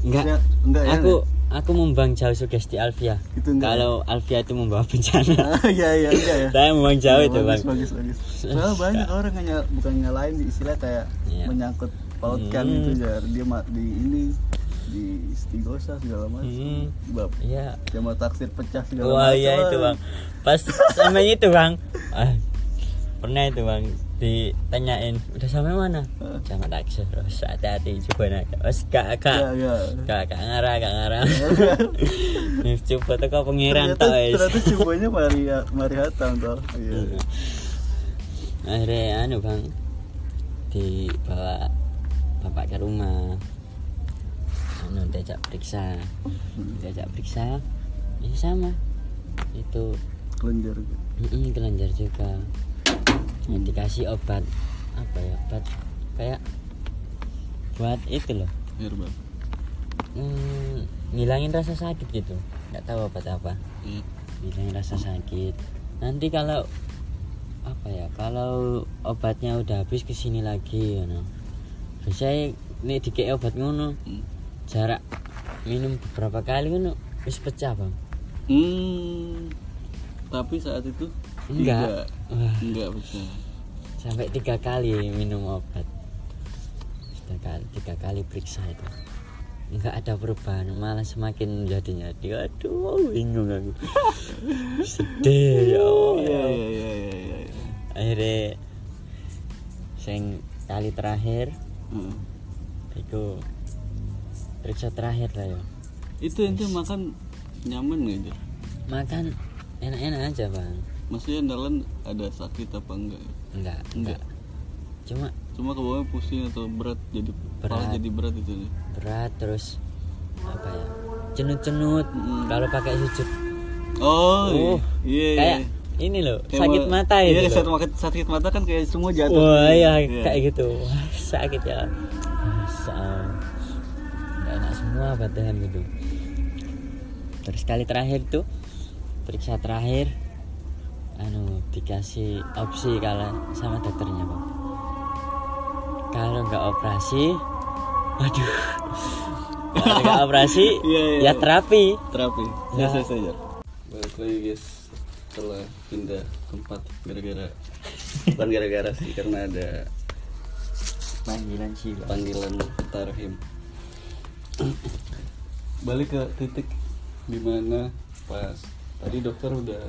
Speaker 1: enggak?
Speaker 2: enggak
Speaker 1: enggak ya.
Speaker 2: aku aku membang jauh sugesti Alfia.
Speaker 1: Itu enggak. ya?
Speaker 2: Kalau Alfia itu membawa bencana.
Speaker 1: Ah, iya iya enggak ya.
Speaker 2: Saya membang jauh itu
Speaker 1: bagus,
Speaker 2: bang.
Speaker 1: bagus bagus. Soalnya banyak orang hanya bukan nyalain di istilah kayak
Speaker 2: Iya.
Speaker 1: menyangkut pautkan
Speaker 2: Hmm.
Speaker 1: itu jar dia ma- di ini di istigosa segala macam.
Speaker 2: Hmm.
Speaker 1: Bab
Speaker 2: Iya.
Speaker 1: jamat taksir pecah segala
Speaker 2: Wah
Speaker 1: macam.
Speaker 2: iya itu bang. Pas sama itu bang. Ah, pernah itu bang ditanyain udah sampai mana? Jangan taksi terus hati-hati coba nak. Wes
Speaker 1: Iya
Speaker 2: gak gak
Speaker 1: iya.
Speaker 2: gak gak ngarah gak ngarah. Wes, coba tuh kau pengiran
Speaker 1: Ternyata
Speaker 2: tau wes.
Speaker 1: ternyata cobanya mari ya, mari hatam toh. Iya.
Speaker 2: Akhirnya anu bang dibawa bapak ke rumah. Anu
Speaker 1: Hmm.
Speaker 2: diajak periksa, diajak periksa. Ya sama itu
Speaker 1: kelenjar gitu.
Speaker 2: Mm-mm, kelenjar juga Yang dikasih obat apa ya obat kayak buat itu loh
Speaker 1: herbal
Speaker 2: mm, ngilangin rasa sakit gitu nggak tahu obat apa
Speaker 1: Iya.
Speaker 2: ngilangin rasa sakit nanti kalau apa ya kalau obatnya udah habis kesini lagi ya no. biasanya ini dikei obat ngono
Speaker 1: Hmm.
Speaker 2: jarak minum beberapa kali ngono wis pecah bang
Speaker 1: Hmm, tapi saat itu
Speaker 2: Enggak. Wah.
Speaker 1: tidak, enggak bisa.
Speaker 2: sampai tiga kali minum obat tiga kali tiga kali periksa itu nggak ada perubahan malah semakin jadi jadi aduh bingung aku sedih ya Allah.
Speaker 1: Iya iya iya iya. iya, iya.
Speaker 2: akhirnya sing kali terakhir
Speaker 1: Heeh.
Speaker 2: itu periksa terakhir lah ya
Speaker 1: Itu ente makan nyaman nggak Jer?
Speaker 2: makan enak-enak aja bang
Speaker 1: Maksudnya dalam ada sakit apa enggak?
Speaker 2: enggak enggak
Speaker 1: Enggak.
Speaker 2: cuma
Speaker 1: Cuma ke bawah pusing atau berat jadi kepala
Speaker 2: Berat.
Speaker 1: jadi berat itu nih.
Speaker 2: berat terus apa ya cenut-cenut
Speaker 1: Mm.
Speaker 2: kalau pakai sujud
Speaker 1: Oh,
Speaker 2: Oh,
Speaker 1: iya iya.
Speaker 2: kayak ini loh sakit mata
Speaker 1: Iya,
Speaker 2: itu loh.
Speaker 1: sakit mata, sakit mata kan kayak semua jatuh.
Speaker 2: wah iya
Speaker 1: Iya.
Speaker 2: kayak gitu Wah, sakit ya Asal. nggak enak semua batahan gitu terus kali terakhir tuh periksa terakhir anu dikasih opsi kalau sama dokternya bang kalau nggak operasi waduh kalau nggak operasi
Speaker 1: Iya, iya,
Speaker 2: ya
Speaker 1: iya.
Speaker 2: terapi
Speaker 1: terapi. Iya,
Speaker 2: Ya.
Speaker 1: Selesai saja. Balik lagi guys setelah pindah tempat gara-gara bukan gara-gara sih karena ada
Speaker 2: panggilan sih bang
Speaker 1: panggilan Peta Rahim. Balik ke titik dimana pas tadi dokter udah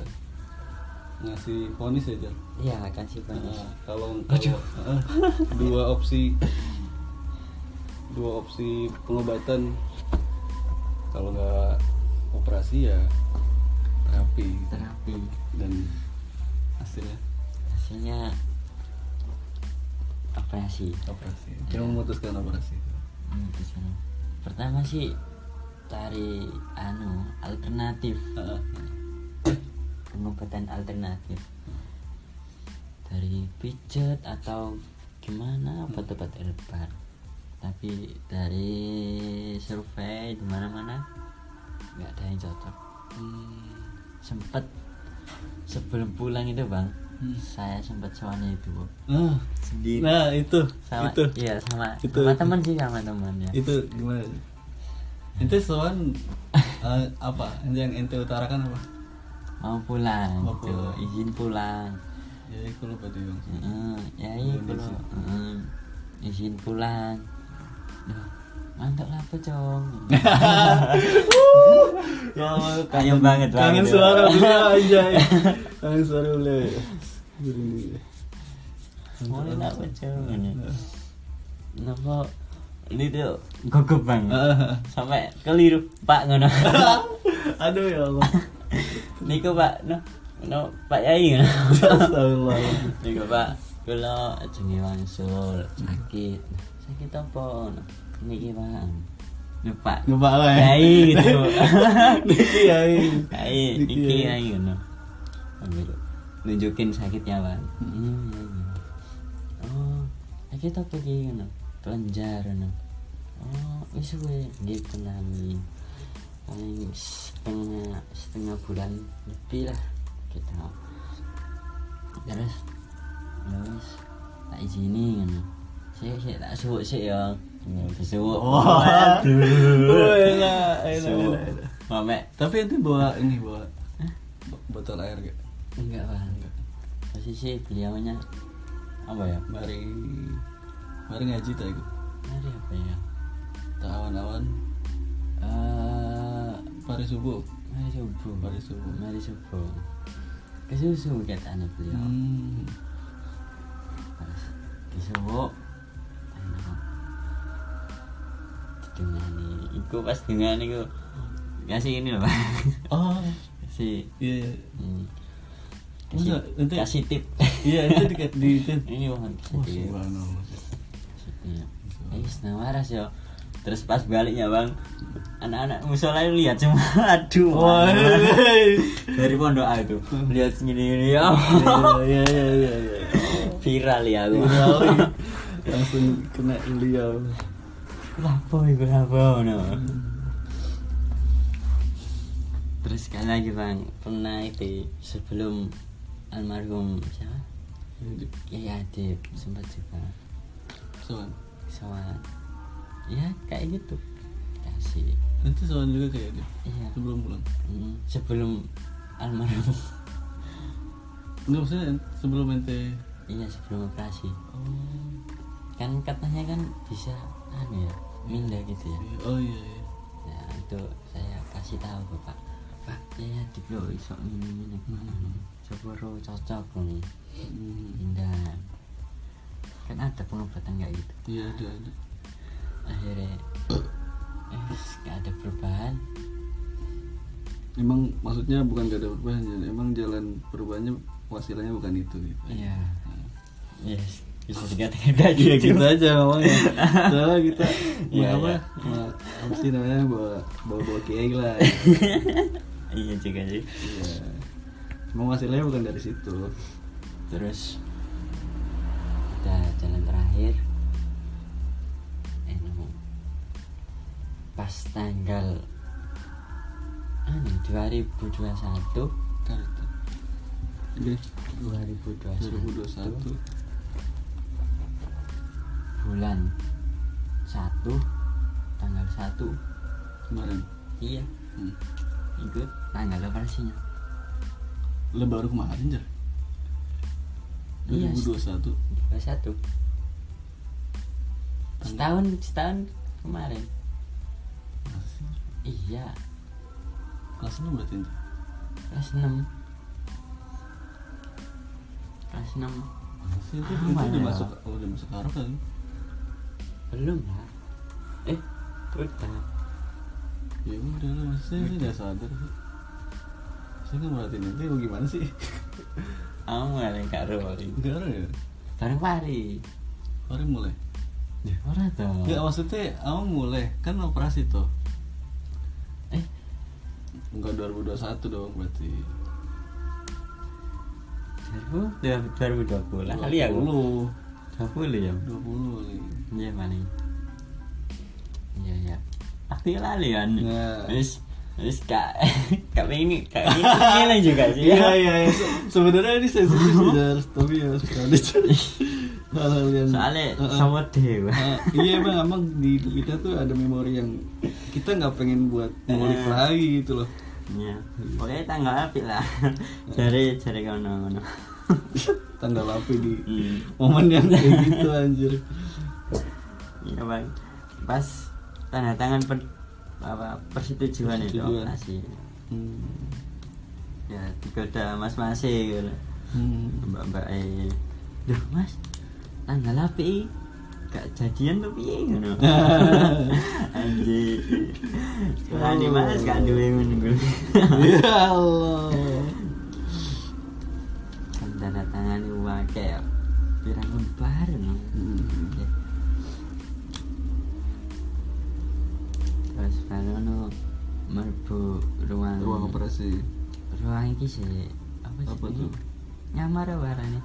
Speaker 1: ngasih ponis ya Jar?
Speaker 2: ya kasih banyak
Speaker 1: Nah, kalau kalau dua opsi dua opsi pengobatan kalau nggak operasi ya terapi
Speaker 2: Terapi.
Speaker 1: dan hasilnya
Speaker 2: hasilnya operasi
Speaker 1: operasi yang memutuskan operasi
Speaker 2: Hmm, di sana. pertama sih cari anu alternatif
Speaker 1: Heeh.
Speaker 2: pengobatan alternatif dari pijat atau gimana obat-obat herbal tapi dari survei di mana-mana nggak ada yang cocok Hmm, sempet sebelum pulang itu bang
Speaker 1: Hmm.
Speaker 2: saya sempet soalnya itu Bu.
Speaker 1: Ah,
Speaker 2: sendiri
Speaker 1: nah itu
Speaker 2: sama
Speaker 1: itu
Speaker 2: iya sama
Speaker 1: Itu.
Speaker 2: sama teman sih sama teman ya
Speaker 1: itu gimana ente soan eh, apa yang ente utarakan apa
Speaker 2: mau pulang
Speaker 1: Mau
Speaker 2: gitu,
Speaker 1: pulang.
Speaker 2: izin pulang
Speaker 1: jadi aku Ya, lupa tuh Yong.
Speaker 2: Heeh, ya
Speaker 1: Mau
Speaker 2: iya kalau
Speaker 1: izin.
Speaker 2: heeh, izin pulang Duh, mantap lah pocong
Speaker 1: Ya,
Speaker 2: kangen banget Bang, gitu.
Speaker 1: kangen
Speaker 2: itu.
Speaker 1: suara beliau aja kangen suara beliau
Speaker 2: mulai lah pocong nopo gitu. ini tuh gugup bang sampai keliru pak ngono
Speaker 1: aduh ya Allah
Speaker 2: niku pak no no pak yai ngono
Speaker 1: Astagfirullah
Speaker 2: Nih pak, kalau jengi wangsul sakit, sakit apa? Niki pak, nih pak,
Speaker 1: ngebak lah ya
Speaker 2: Yai, gitu.
Speaker 1: Niki yai
Speaker 2: Ayo,
Speaker 1: Niki,
Speaker 2: niki
Speaker 1: yai.
Speaker 2: ayo no. Ambil, nunjukin sakitnya pak. Iya, iya, iya. Oh, sakit apa ki no? Kelenjar no. Oh, wis suwe nggih penami. Paling setengah setengah bulan lebih lah kita. terus terus tak izini ngono sik sik tak suwuk sik ya Oh, disuwuk
Speaker 1: Wah, enak, enak,
Speaker 2: suwuk
Speaker 1: enak, enak.
Speaker 2: mamek
Speaker 1: tapi ente bawa ini bawa bo- botol air gak
Speaker 2: enggak bang posisi beliaunya apa ya
Speaker 1: mari mari ngaji tak ikut
Speaker 2: hari apa ya
Speaker 1: tak awan-awan
Speaker 2: eh
Speaker 1: mari subuh
Speaker 2: mari subuh
Speaker 1: Mari subuh.
Speaker 2: mari subuh kesusu katanya beliau
Speaker 1: hmm.
Speaker 2: Terus disuruh enak. Didengani. Iku pas dengani iku ngasih ini loh, Pak.
Speaker 1: oh
Speaker 2: lah. Kasih.
Speaker 1: iya iya.
Speaker 2: Hmm.
Speaker 1: Masa,
Speaker 2: Kasih,
Speaker 1: nanti-
Speaker 2: kasih tip.
Speaker 1: iya ente Ya, dekat di itu
Speaker 2: ini Bang, kasih
Speaker 1: Wah,
Speaker 2: tip.
Speaker 1: subhanallah.
Speaker 2: Iya. Kasih tip. Eh, wis nawaras yo. terus pas baliknya bang anak-anak musola itu lihat cuma aduh
Speaker 3: Woi.
Speaker 2: dari pondok A itu lihat gini-gini ya
Speaker 3: Iya iya iya iya.
Speaker 2: viral ya aku
Speaker 3: Iya, Langsung kena beliau.
Speaker 2: Kenapa iku apa no? Terus sekali lagi bang, pernah itu sebelum almarhum siapa? Kiai Adib sempat juga
Speaker 1: soal
Speaker 2: soal ya kayak gitu kasih
Speaker 1: nanti soal juga kayak dia
Speaker 2: iya
Speaker 1: sebelum pulang
Speaker 2: mm, sebelum almarhum
Speaker 1: enggak maksudnya sebelum ente
Speaker 2: iya sebelum operasi kan katanya kan bisa anu ya minda gitu ya
Speaker 1: oh iya iya
Speaker 2: Ya, itu saya kasih tahu ke Pak. Pak, saya diplo iso ini ini kemana nih? Coba ro cocok nih.
Speaker 1: Hmm,
Speaker 2: Indah. Kan ada pengobatan nggak gitu.
Speaker 1: iya ada ada
Speaker 2: Akhirnya eh nggak ada perubahan.
Speaker 1: emang maksudnya bukan gak ada perubahan Jan. emang jalan perubahannya wasilanya bukan itu gitu
Speaker 2: Iya. Yes, bisa dikatakan kayak gitu.
Speaker 1: kita Iya, aja ngomongnya soalnya kita
Speaker 2: Iya,
Speaker 1: mau apa
Speaker 2: iya.
Speaker 1: mau apa sih namanya bawa bawa bawa kiai lah
Speaker 2: Iya juga sih.
Speaker 1: Iya. cuma hasilnya bukan dari situ
Speaker 2: Terus udah jalan terakhir eh nemu pas tanggal anu 2021
Speaker 1: Bentar, bentar. Oke,
Speaker 2: 2021
Speaker 1: 2021
Speaker 2: bulan 1 tanggal 1
Speaker 1: kemarin
Speaker 2: iya
Speaker 1: Hmm.
Speaker 2: ikut tanggal operasinya
Speaker 1: Lah baru kemarin Jar
Speaker 2: Iya,
Speaker 1: 2021
Speaker 2: 21 setahun setahun kemarin
Speaker 1: Masa sih?
Speaker 2: iya
Speaker 1: kelas 6 berarti Jar?
Speaker 2: kelas 6 kelas 6
Speaker 1: Masa sih? itu,
Speaker 2: Ah,
Speaker 1: itu
Speaker 2: mana
Speaker 1: udah
Speaker 2: ya?
Speaker 1: masuk oh, udah masuk Arab kan
Speaker 2: belum lah eh udah
Speaker 1: ya udah lah maksudnya saya nggak sadar sih saya nggak merhatiin itu kok gimana sih
Speaker 2: kamu yang kak Rory
Speaker 1: nggak ada ya
Speaker 2: bareng Fari
Speaker 1: kemarin mulai Iya.
Speaker 2: ora toh
Speaker 1: nggak maksudnya kamu mulai kan operasi tuh
Speaker 2: eh
Speaker 1: Enggak 2021 dong berarti
Speaker 2: baru baru dua puluh kali ya dua
Speaker 1: 20
Speaker 2: puluh ya
Speaker 1: 20 kali
Speaker 2: iya paling iya iya aku lali kan
Speaker 1: Nah.
Speaker 2: terus terus kak kak ini kak ini ngilang juga sih
Speaker 1: Iya iya iya. Se- sebenarnya ini sensitif sih, Jar. tapi ya harus berani Jar. Nah, hal-hal yang
Speaker 2: soalnya
Speaker 1: Heeh.
Speaker 2: sama dewa
Speaker 1: Heeh. nah. iya bang, emang di kita tuh ada memori yang kita nggak pengen buat ngulik
Speaker 2: Eh.
Speaker 1: lagi gitu loh.
Speaker 2: Iya. Pokoknya tanggal api lah. Dari dari kono kono.
Speaker 1: Tanda lapi di
Speaker 2: Hmm.
Speaker 1: momen yang kayak gitu anjir.
Speaker 2: Iya bang. Pas tanda tangan per, apa persetujuan itu
Speaker 1: Persetujuan.
Speaker 2: operasi.
Speaker 1: Hmm.
Speaker 2: Ya digoda mas mas gitu.
Speaker 1: Hmm.
Speaker 2: Mbak mbak eh. Duh mas, tanggal api gak jadian tuh piye ngono. Anjir. Berani mas gak duwe ngono.
Speaker 1: ya Allah.
Speaker 2: Tanda tangan itu wakai pirang lembar no.
Speaker 1: Hmm.
Speaker 2: Terus baru no merbu ruang
Speaker 1: Ruang operasi.
Speaker 2: ruang ini sih apa sih
Speaker 1: Apa
Speaker 2: ini?
Speaker 1: tuh?
Speaker 2: nyamar warane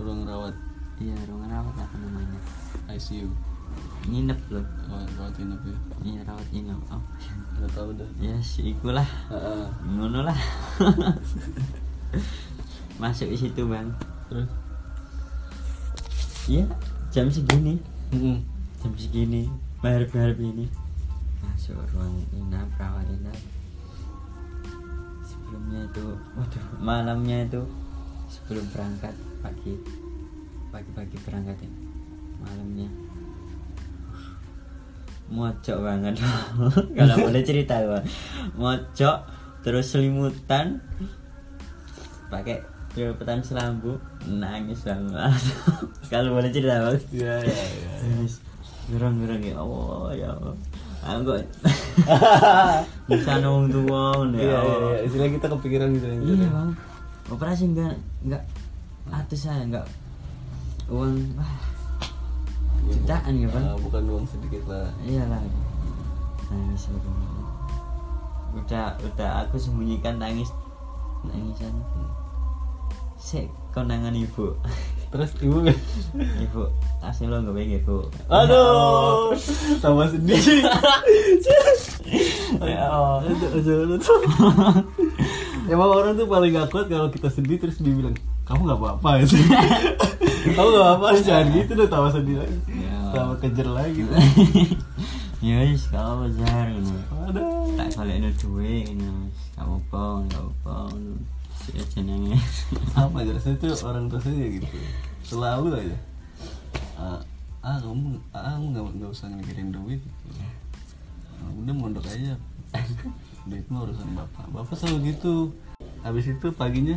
Speaker 1: Ruang rawat
Speaker 2: iya ruang rawat apa namanya
Speaker 1: ICU.
Speaker 2: nginep loh
Speaker 1: Rawat, rawat inap ya.
Speaker 2: ini rawat nginep oh
Speaker 1: Nggak tahu dah.
Speaker 2: ya sih ikulah
Speaker 1: Heeh.
Speaker 2: ngono lah masuk di situ bang
Speaker 1: Terus.
Speaker 2: iya jam segini
Speaker 1: Mm-mm.
Speaker 2: jam segini bayar bayar ini masuk ruang inap rawat inap sebelumnya itu waduh malamnya itu sebelum berangkat pagi pagi-pagi berangkat ya malamnya mojok banget kalau boleh cerita gua mojok terus selimutan pakai selimutan selambu nangis banget kalau boleh cerita bang
Speaker 1: Ya ya ya.
Speaker 2: Nangis gerang-gerang ya Allah ya Allah aku kok bisa nong tua ngono
Speaker 1: Iya
Speaker 2: ya
Speaker 1: iya
Speaker 2: Allah
Speaker 1: iya. Istilah kita kepikiran gitu anjir.
Speaker 2: iya bang operasi enggak enggak atas saya enggak uang wah Jutaan
Speaker 1: Iya,
Speaker 2: ya, Bang?
Speaker 4: Ah, bukan uang sedikit lah
Speaker 2: iyalah nangis aku udah udah aku sembunyikan nangis nangisan sik konangan ibu
Speaker 1: Terus ibu
Speaker 2: ibu asli lo nggak pengen ibu
Speaker 1: Aduh Tambah sedih
Speaker 2: ya Allah.
Speaker 1: Aduh, aduh, aduh, tuh. Emang orang tuh paling gak kuat kalau kita sedih terus dia bilang kamu gak apa-apa ya sih. kamu gak apa-apa jangan gitu deh tambah sedih lagi,
Speaker 2: Ya.
Speaker 1: tambah kejer lagi.
Speaker 2: ya wis gak apa jar ngono.
Speaker 1: Ada.
Speaker 2: tak balik no duwe ngono gak apa gak apa ngono. sik aja nangis
Speaker 1: Sama aja ya, rasanya tuh orang tua saya gitu, selalu aja. Ah, ah kamu, ah kamu gak, gak usah mikirin duit. Gitu. Ah, udah mondok aja. Duit mah urusan bapak. Bapak selalu gitu. Habis itu paginya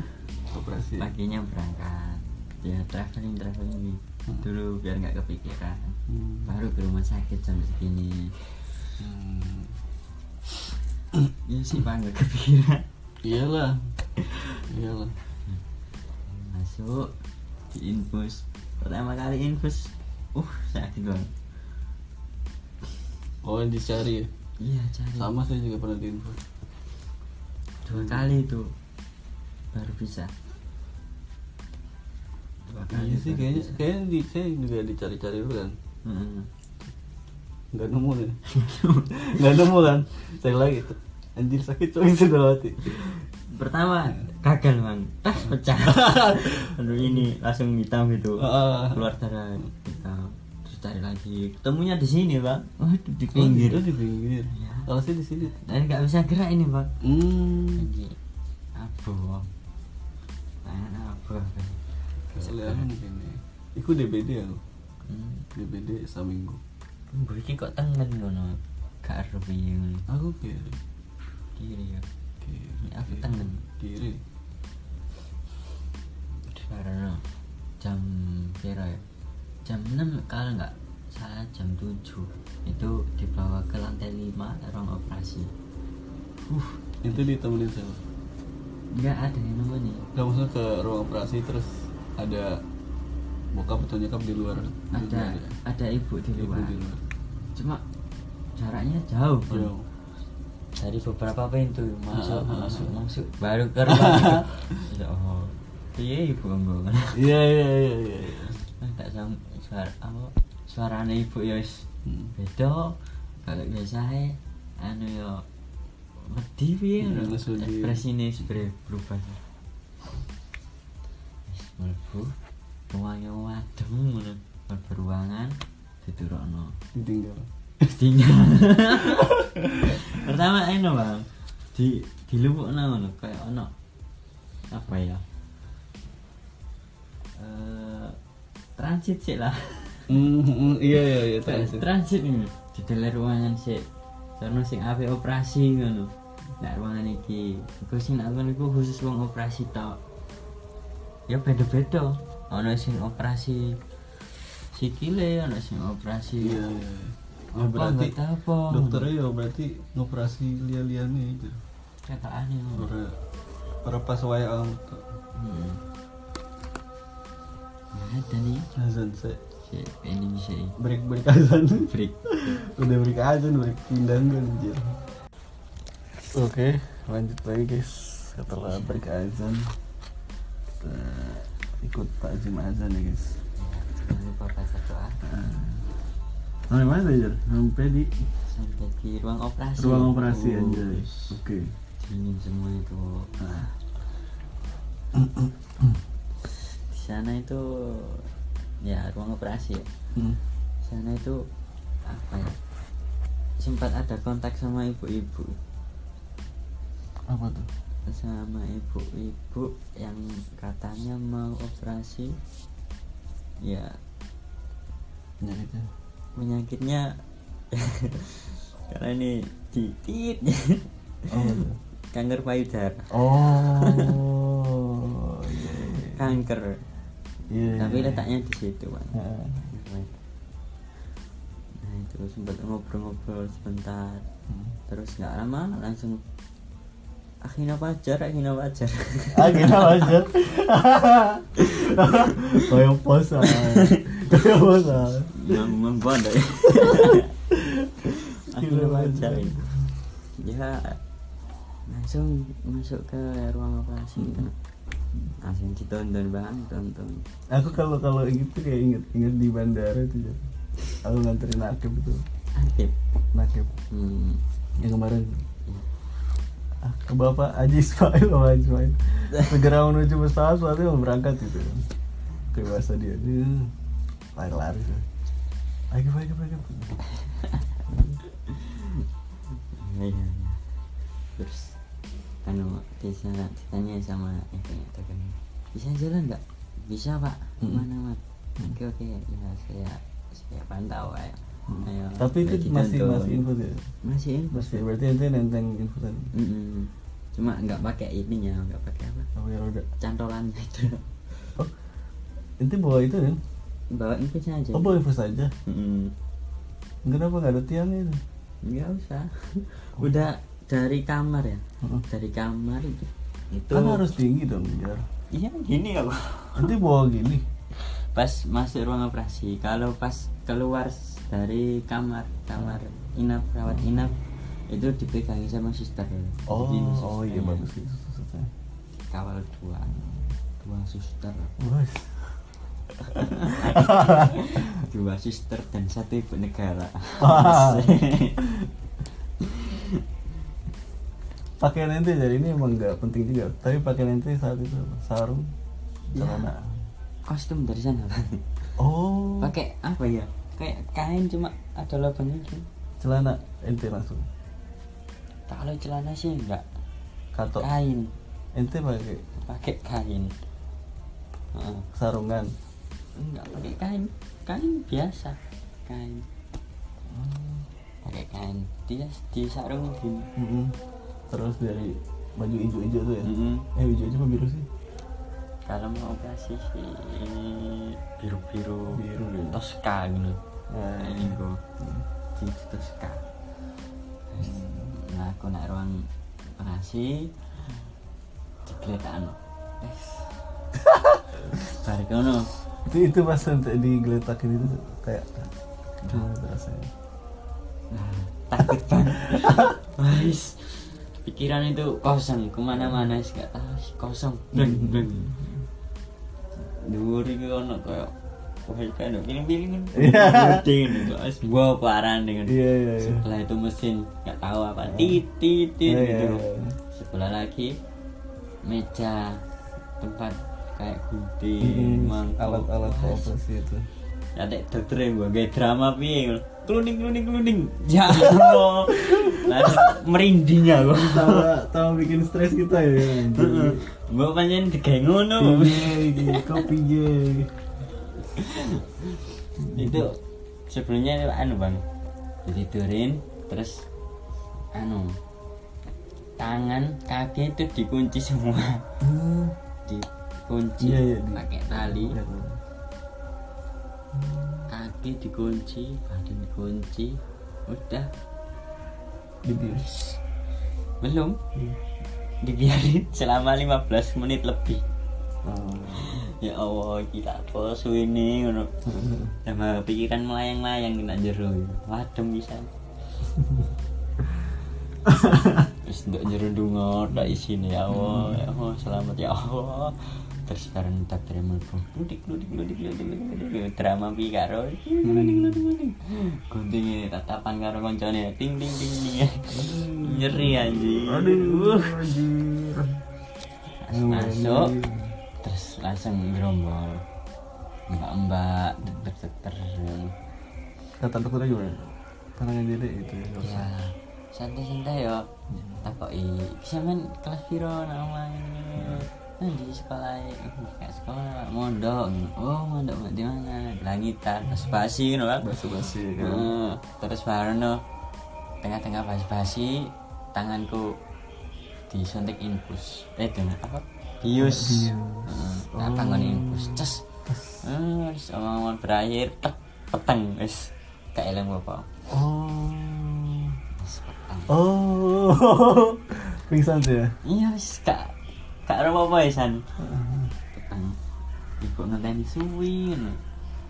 Speaker 1: operasi.
Speaker 2: paginya berangkat ya traveling traveling dulu biar nggak kepikiran
Speaker 1: Hmm.
Speaker 2: baru ke rumah sakit jam segini
Speaker 1: Hmm.
Speaker 2: ya sih pak nggak kepikiran
Speaker 1: Iyalah. Iyalah.
Speaker 2: masuk di infus pertama kali infus uh sakit banget
Speaker 1: Oh yang dicari ya?
Speaker 2: iya cari
Speaker 1: Sama saya juga pernah diinfo
Speaker 2: dua kali itu baru bisa dua kali
Speaker 1: Iya sih
Speaker 2: baru
Speaker 1: kayaknya
Speaker 2: bisa.
Speaker 1: kayaknya di, saya juga dicari-cari dulu kan
Speaker 2: Mm-mm.
Speaker 1: Gak nemu kan Gak nemu kan Cari lagi tuh Anjir sakit coy sudah mati
Speaker 2: pertama gagal bang tas pecah aduh ini langsung hitam gitu
Speaker 1: Ah.
Speaker 2: keluar darah hitam terus cari lagi ketemunya di sini bang waduh di
Speaker 1: Oh,
Speaker 2: pinggir
Speaker 1: oh, di pinggir
Speaker 2: Iya.
Speaker 1: Kalau saya di sini
Speaker 2: dan nggak bisa gerak ini bang
Speaker 1: Hmm
Speaker 2: lagi abu bang tangan abu Bang. Nggak bisa
Speaker 1: Kalian
Speaker 2: gerak.
Speaker 1: ini Iku DBD ya lu
Speaker 2: Hmm.
Speaker 1: DBD seminggu
Speaker 2: Mbok iki kok tengen ngono gak arep piye ngono.
Speaker 1: Aku kiri
Speaker 2: kiri ya
Speaker 1: Kiri
Speaker 2: Aku
Speaker 1: kiri,
Speaker 2: tengen.
Speaker 1: Kiri
Speaker 2: karena jam kira ya jam 6 kalau nggak salah jam 7 itu dibawa ke lantai 5 ruang operasi
Speaker 1: Uh Itu ditemenin saya
Speaker 2: nggak ada yang nemenin
Speaker 1: Gak maksudnya ke ruang operasi terus ada bokap atau nyokap di luar
Speaker 2: ada ada ibu di
Speaker 1: Iya, Ibu
Speaker 2: luar,
Speaker 1: di luar.
Speaker 2: cuma jaraknya jauh Bang.
Speaker 1: Jauh.
Speaker 2: dari beberapa pintu masuk
Speaker 1: Ah, ah,
Speaker 2: masuk
Speaker 1: ah.
Speaker 2: masuk baru ke ruang itu. ya Allah iya ibu ngomong
Speaker 1: Iya iya iya iya. iya.
Speaker 2: tak sama suara apa suaranya ibu ya wis
Speaker 1: Hmm.
Speaker 2: beda kalau biasa he, anu ya wedi piye
Speaker 1: Iya,
Speaker 2: ngono.
Speaker 1: wes Hmm, wedi.
Speaker 2: ekspresine sebre berubah wis mlebu ruangnya wadem ngono mlebu ruangan diturokno
Speaker 1: Ditinggal.
Speaker 2: tinggal pertama eno bang di dilumukno ngono kayak ono apa ya eh transit sih lah
Speaker 1: Hmm, hmm, iya iya iya
Speaker 2: transit
Speaker 1: transit.
Speaker 2: transit ini di ruangan sih karena sing ape operasi ngono nah ruangan iki iku sing nak ngono iku khusus wong operasi tok ya beda beda ono sing operasi sikile ono sing operasi
Speaker 1: Iya iya. iya.
Speaker 2: Apa, nggak tahu apa.
Speaker 1: dokternya ya berarti ngoperasi lia-liane itu.
Speaker 2: kata aneh ngono
Speaker 1: Para para pas wae am
Speaker 2: hmm. nah ada nih
Speaker 1: azan saya
Speaker 2: si ini si
Speaker 1: break break azan.
Speaker 2: freak
Speaker 1: Udah break azan break pindang kan anjir. Oke, lanjut lagi guys. Setelah break azan kita ikut takzim azan ya guys.
Speaker 2: jangan lupa baca doa
Speaker 1: Sampai mana tadi, Jar? Sampai di
Speaker 2: sampai di ruang operasi
Speaker 1: ruang operasi
Speaker 2: Oh,
Speaker 1: anjay.
Speaker 2: wis.
Speaker 1: Oke.
Speaker 2: dingin semua itu
Speaker 1: Nah,
Speaker 2: di sana itu ya ruang operasi ya.
Speaker 1: Hmm.
Speaker 2: di sana itu apa ya sempat ada kontak sama ibu-ibu
Speaker 1: Apa tuh?
Speaker 2: sama ibu-ibu yang katanya mau operasi ya
Speaker 1: Penyakitnya.
Speaker 2: penyakitnya karena ini titit
Speaker 1: Apa tuh?
Speaker 2: kanker payudara
Speaker 1: Oh. Iya.
Speaker 2: kanker
Speaker 1: iya, iya.
Speaker 2: tapi letaknya di situ Pak.
Speaker 1: Heeh.
Speaker 2: Nah itu sempat ngobrol-ngobrol sebentar
Speaker 1: Hmm.
Speaker 2: Terus nggak lama langsung "Ah, Akhirnya pacar, akhirnya pacar
Speaker 1: Ah, kita lanjut. Iya, Kayak posan. Kayak posan.
Speaker 2: Mem- membodoh ya akhirnya pacar ya ya langsung masuk ke ruang operasi
Speaker 1: Hmm.
Speaker 2: langsung ditonton bang tonton
Speaker 1: aku kalau kalau gitu kayak inget inget di bandara tuh Jar. aku nganterin Akib itu
Speaker 2: aktif
Speaker 1: Akib
Speaker 2: hmm.
Speaker 1: yang kemarin Ah, ke bapak Haji Ismail sama Haji Ismail segera menuju pesawat soalnya mau berangkat gitu kan dewasa dia dia lari-lari tuh. Akib Akib Akib
Speaker 2: Iya, iya. terus kan bisa ditanya sama itu ya tekannya, bisa jalan nggak bisa pak
Speaker 1: Mm-mm.
Speaker 2: mana mat
Speaker 1: Hmm.
Speaker 2: oke oke ya saya saya pantau ya Ayo,
Speaker 1: Hmm. tapi itu
Speaker 2: bagi
Speaker 1: masih
Speaker 2: tonton.
Speaker 1: masih info ya
Speaker 2: masih info
Speaker 1: masih berarti ente nenteng info tadi Hmm.
Speaker 2: Mm-mm. cuma nggak pakai ininya nggak pakai apa
Speaker 1: apa ya roda
Speaker 2: cantolannya itu
Speaker 1: oh ente bawa itu kan
Speaker 2: bawa infusnya aja
Speaker 1: oh bawa info saja
Speaker 2: Mm-mm.
Speaker 1: kenapa nggak ada tiangnya itu
Speaker 2: nggak usah udah dari kamar ya
Speaker 1: Heeh.
Speaker 2: dari kamar itu itu
Speaker 1: kan harus tinggi dong biar
Speaker 2: iya gini kalau
Speaker 1: ente bawa gini
Speaker 2: pas masuk ruang operasi kalau pas keluar s- dari kamar kamar inap rawat inap itu dipegangin sama suster
Speaker 1: oh
Speaker 2: Jadi susternya
Speaker 1: oh iya bagus itu susahnya
Speaker 2: kawal dua dua suster
Speaker 1: Wes.
Speaker 2: dua suster dan satu ibu negara
Speaker 1: Wah. pakaian ente jadi ini emang nggak penting juga tapi pakaian ente saat itu apa? sarung
Speaker 2: Ya.
Speaker 1: celana
Speaker 2: kostum dari sana Bang.
Speaker 1: oh
Speaker 2: pakai apa ya kayak kain cuma ada lubangnya gitu
Speaker 1: celana ente langsung
Speaker 2: kalau celana sih enggak
Speaker 1: katok
Speaker 2: kain
Speaker 1: ente pakai
Speaker 2: pakai kain Heeh.
Speaker 1: sarungan
Speaker 2: enggak pakai kain kain biasa kain pakai kain dia di sarung gini
Speaker 1: Mm-mm. terus dari baju hijau-hijau tuh ya
Speaker 2: Mm-mm.
Speaker 1: eh hijau-hijau apa biru sih
Speaker 2: kalau mau operasi sih biru biru
Speaker 1: Biru, ya.
Speaker 2: toska gitu
Speaker 1: Nah.
Speaker 2: Kayak minggu di toska Terus, nah aku nak ruang operasi digeledakan tes balik kono
Speaker 1: itu itu pas ente digeletakin itu kayak ya. gimana tuh rasanya
Speaker 2: takut banget Wais, pikiran itu kosong kemana-mana sih gak tahu sih, kosong bleng bleng dhuwur iki ono koyo wah iki kan piring-piring
Speaker 1: Iya.
Speaker 2: dingin kok es gua paran dengan
Speaker 1: Iya, iya, iya.
Speaker 2: sebelah itu mesin gak tahu apa tit tit tit
Speaker 1: Iya,
Speaker 2: gitu
Speaker 1: iya, iya.
Speaker 2: sebelah lagi meja tempat kayak
Speaker 1: Mm-mm.
Speaker 2: gunting mangkok ya,
Speaker 1: alat-alat
Speaker 2: Wais,
Speaker 1: operasi itu
Speaker 2: Nanti dokter yang gue kayak drama piye ngono. Kluning kluning kluning. Ya Allah. Langsung merinding aku.
Speaker 1: tawa tawa bikin stres kita ya
Speaker 2: Heeh. Gue panjen digawe ngono.
Speaker 1: Iya. Piye, kopi ye
Speaker 2: Itu sebelumnya anu Bang. Ditidurin terus anu tangan kaki itu dikunci semua dikunci
Speaker 1: Iya, iya, di-
Speaker 2: pakai tali kaki dikunci badan dikunci udah
Speaker 1: dibius
Speaker 2: belum
Speaker 1: Iya.
Speaker 2: dibiarin selama 15 menit lebih
Speaker 1: Oh.
Speaker 2: ya Allah kita posu ini ngono sama pikiran melayang-layang kena jero gitu. wadem bisa terus untuk jero dungo tak isine ya Allah ya Allah selamat ya Allah terus sekarang tak terima pun ludik ludik ludik ludik ludik ludik drama pi karo ludik ludik ludik ludik guntingnya tatapan karo koncone ting ting ting ting nyeri anjing
Speaker 1: aduh
Speaker 2: Uh. masuk terus langsung gerombol mbak mbak dokter dokter
Speaker 1: kata dokternya gimana tangannya jadi itu ya nggak
Speaker 2: ya
Speaker 1: usah.
Speaker 2: santai santai yo takoi bisa main kelas piro nama "Nah, di sekolah nggak sekolah mondok oh mondok Mbak, di mana langitan spasi no Mbak.
Speaker 1: basa-basi ya kan
Speaker 2: Eh, terus barono tengah-tengah basi-basi tanganku disuntik infus eh dengan apa bius Eh, nah, tangan infus ces Eh, terus omongan berakhir tek peteng wis gak eleng apa
Speaker 1: oh
Speaker 2: wis peteng
Speaker 1: oh pingsan tuh ya
Speaker 2: iya wis gak gak ada apa-apa ya san peteng ibu ngenteni suwi ngono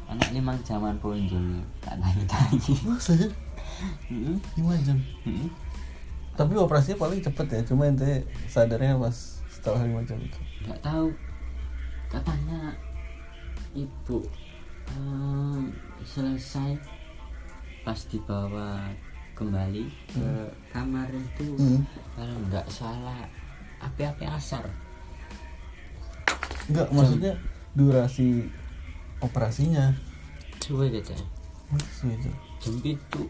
Speaker 2: anak limang jaman punjul tak nanya tanya
Speaker 1: Masa ya? Lima jam. Tapi operasinya paling cepet ya, cuma ente sadarnya pas setelah lima jam itu.
Speaker 2: nggak tahu katanya ibu em, selesai pas dibawa kembali ke kamar itu
Speaker 1: Hmm.
Speaker 2: kalau nggak salah api-api asar
Speaker 1: Enggak, maksudnya durasi operasinya.
Speaker 2: coba gitu
Speaker 1: Masa itu?
Speaker 2: jam itu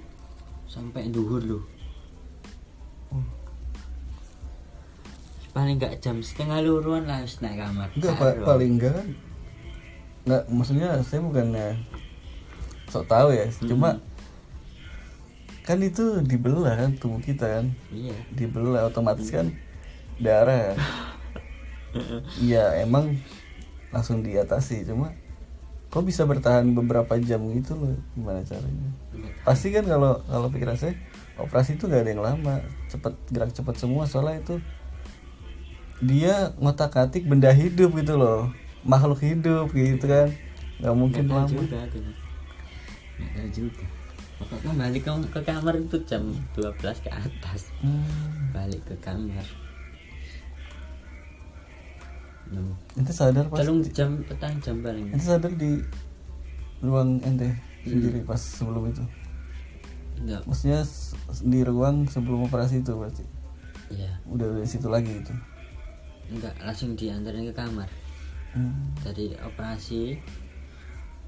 Speaker 2: sampai duhur loh
Speaker 1: Hmm.
Speaker 2: paling nggak jam setengah luruan lah harus naik kamar
Speaker 1: Enggak, pa-
Speaker 2: Karo.
Speaker 1: paling enggak kan. Enggak, maksudnya saya bukannya sok tahu ya, cuma kan itu dibelah kan tubuh kita kan.
Speaker 2: iya
Speaker 1: dibelah otomatis kan darah kan? iya emang langsung diatasi cuma kok bisa bertahan beberapa jam gitu loh gimana caranya pasti kan kalau kalau pikiran saya operasi itu gak ada yang lama cepet gerak cepet semua soalnya itu dia ngotak atik benda hidup gitu loh makhluk hidup gitu kan nggak mungkin
Speaker 2: Nggak
Speaker 1: lama
Speaker 2: tahu juga aku nih. Nggak tahu juga pokoknya balik ke, ke kamar itu jam 12 ke atas
Speaker 1: Hmm,
Speaker 2: balik ke kamar Loh,
Speaker 1: itu sadar pas
Speaker 2: telung jam petang jam paling
Speaker 1: itu sadar di ruang ente sendiri pas sebelum itu
Speaker 2: enggak
Speaker 1: maksudnya s- di ruang sebelum operasi itu berarti
Speaker 2: ya
Speaker 1: udah dari situ lagi itu
Speaker 2: enggak langsung diantarin ke kamar
Speaker 1: Hmm,
Speaker 2: dari operasi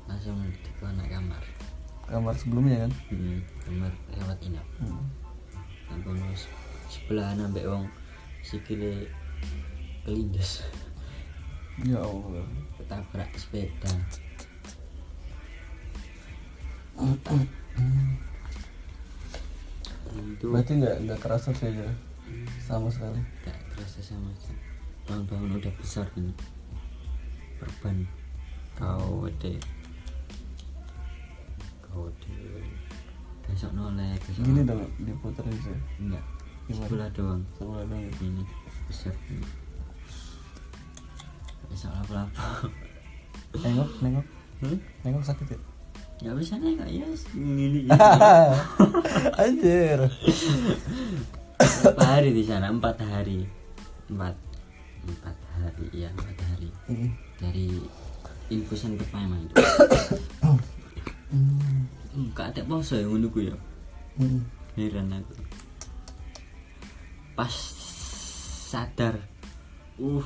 Speaker 2: langsung dibawa naik kamar
Speaker 1: kamar sebelumnya kan
Speaker 2: hmm, kamar lewat inap
Speaker 1: Hmm.
Speaker 2: Ampun wis sebelah nambah wong sikile kelindes
Speaker 1: ya allah
Speaker 2: ketabrak sepeda itu
Speaker 1: berarti nggak nggak kerasa sih aja sama sekali
Speaker 2: tak terasa sama sekali. bangun-bangun udah besar ini perban kau wede kau wede besok noleh besok
Speaker 1: gini dong diputerin sih
Speaker 2: enggak
Speaker 1: Gimana?
Speaker 2: sebelah doang
Speaker 1: sebelah dong gitu.
Speaker 2: ini besar ini besok lapo-lapo
Speaker 1: nengok nengok
Speaker 2: hmm?
Speaker 1: nengok sakit ya
Speaker 2: nggak bisa nih kak ya gini gini
Speaker 1: anjir
Speaker 2: berapa hari di sana empat hari empat empat hari ya empat hari
Speaker 1: Hmm.
Speaker 2: dari infusan pertama itu Hmm, kak ada poso yang menunggu ya
Speaker 1: Hmm.
Speaker 2: heran aku pas sadar uh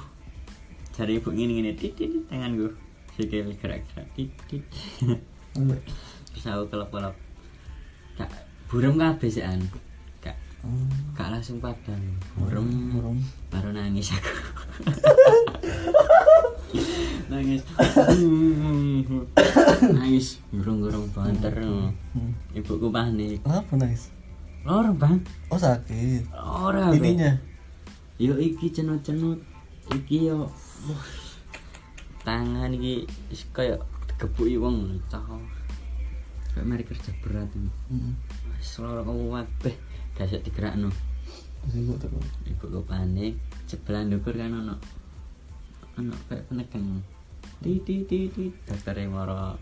Speaker 2: cari ibu gini gini titit tangan gue sikil gerak gerak titit
Speaker 1: Iya.
Speaker 2: terus aku kelop kelop kak burem kabeh sih an kak
Speaker 1: Hmm.
Speaker 2: Kak langsung padang burem
Speaker 1: burem.
Speaker 2: baru nangis aku nangis nangis gurung-gurung banter
Speaker 1: Hmm.
Speaker 2: ibuku panik
Speaker 1: Kenapa nice?
Speaker 2: lor bang
Speaker 1: Oh sakit.
Speaker 2: lor apa?
Speaker 1: Ininya.
Speaker 2: yo iki cenut-cenut iki yo Wah. tangan iki is kayak digebuki wong cah kayak mari kerja berat ini
Speaker 1: Hmm.
Speaker 2: wis lor kamu wabeh dasar digerakno
Speaker 1: Tersinggung terus.
Speaker 2: ibu gue panik sebelah ndukur kan ono ono kayak penekan ti ti ti ti dokter yang moro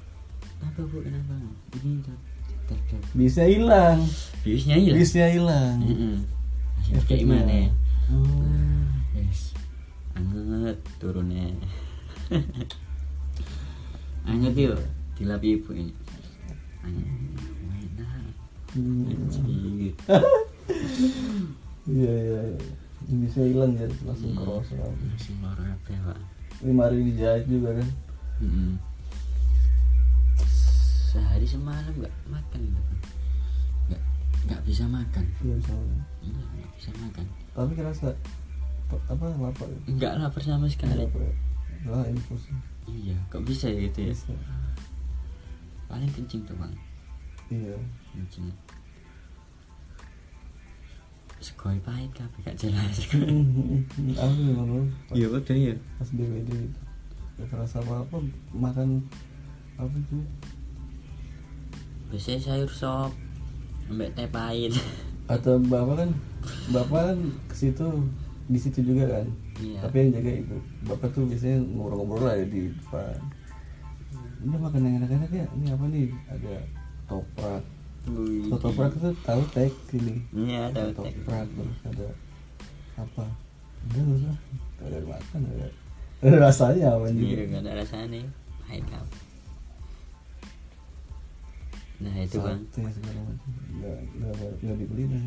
Speaker 2: apa bu kenapa ini dok- dokter
Speaker 1: Bisa hilang.
Speaker 2: biusnya hilang
Speaker 1: Bisnya hilang.
Speaker 2: Heeh. Iya. kayak
Speaker 1: Efeknya.
Speaker 2: gimana ya
Speaker 1: Hmm.
Speaker 2: Ah, yes anget turunnya anget yuk dilap ibu ini anget enak Hmm. anjir
Speaker 1: Iya iya. iya. Bisa hilang ya
Speaker 2: Iya.
Speaker 1: langsung keros.
Speaker 2: masih loro apa ya pak
Speaker 1: Lima hari dijahit juga kan.
Speaker 2: Mm-mm. Sehari semalam nggak makan gitu kan. nggak nggak bisa makan,
Speaker 1: Iya bisa. hilang.
Speaker 2: Iya, nggak bisa makan,
Speaker 1: Tapi kerasa pe- apa lapar. ya?
Speaker 2: nggak lapar sama sekali.
Speaker 1: Lapar. ya? Lah infusi.
Speaker 2: Iya, kok bisa ya gitu ya?
Speaker 1: Bisa.
Speaker 2: Paling kencing tuh bang,
Speaker 1: Iya.
Speaker 2: kencing. Sekoi pahit kabeh gak jelas.
Speaker 1: Aku memang lu
Speaker 2: Iya udah ya.
Speaker 1: pas DWD gitu. Gak kerasa apa apa makan apa itu?
Speaker 2: Biasanya sayur sop, ambek teh pahit.
Speaker 1: Atau bapak kan bapak kan ke situ di situ juga kan.
Speaker 2: Iya.
Speaker 1: Tapi yang jaga ibu. Bapak tuh biasanya ngobrol-ngobrol lah ya di depan. ini makan yang enak-enak ya ini apa nih ada toprak Kalau toprak itu tahu tek ini
Speaker 2: Iya,
Speaker 1: ada
Speaker 2: tahu tek.
Speaker 1: toprak terus ada apa udah nggak usah Nggak ada makan ada kan. ada rasanya apa
Speaker 2: Iya,
Speaker 1: juga
Speaker 2: gak ada rasanya nih. Pahit kau. Nah itu bang,
Speaker 1: Sate segala macam Iya, nggak nggak nggak dibeli nih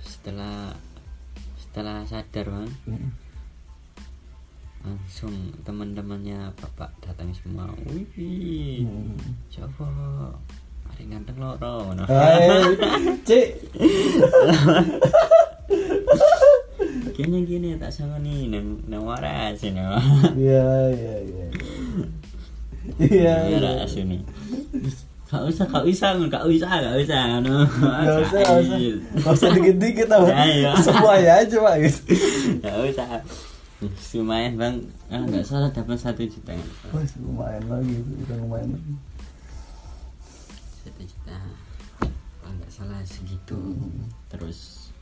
Speaker 2: setelah setelah sadar bang, langsung teman-temannya bapak datang semua. Wih,
Speaker 1: Hmm.
Speaker 2: coba ada yang ganteng loh, loh. Nah,
Speaker 1: Hai, cek.
Speaker 2: gini gini tak sama nih, nang nang waras you know.
Speaker 1: Iya, iya, iya. Iya.
Speaker 2: Nang
Speaker 1: iya.
Speaker 2: waras you know. Gak usah, gak usah, gak usah, gak usah, no.
Speaker 1: Gak usah, gak usah. Gak usah dikit-dikit apa.
Speaker 2: Ya, iya.
Speaker 1: Semuanya aja, Pak. Gitu.
Speaker 2: Gak usah. Lumayan bang, kalau nggak salah dapat satu juta.
Speaker 1: Wah, lumayan lagi. Udah lumayan lagi.
Speaker 2: Satu juta. Kalau nggak salah segitu. Terus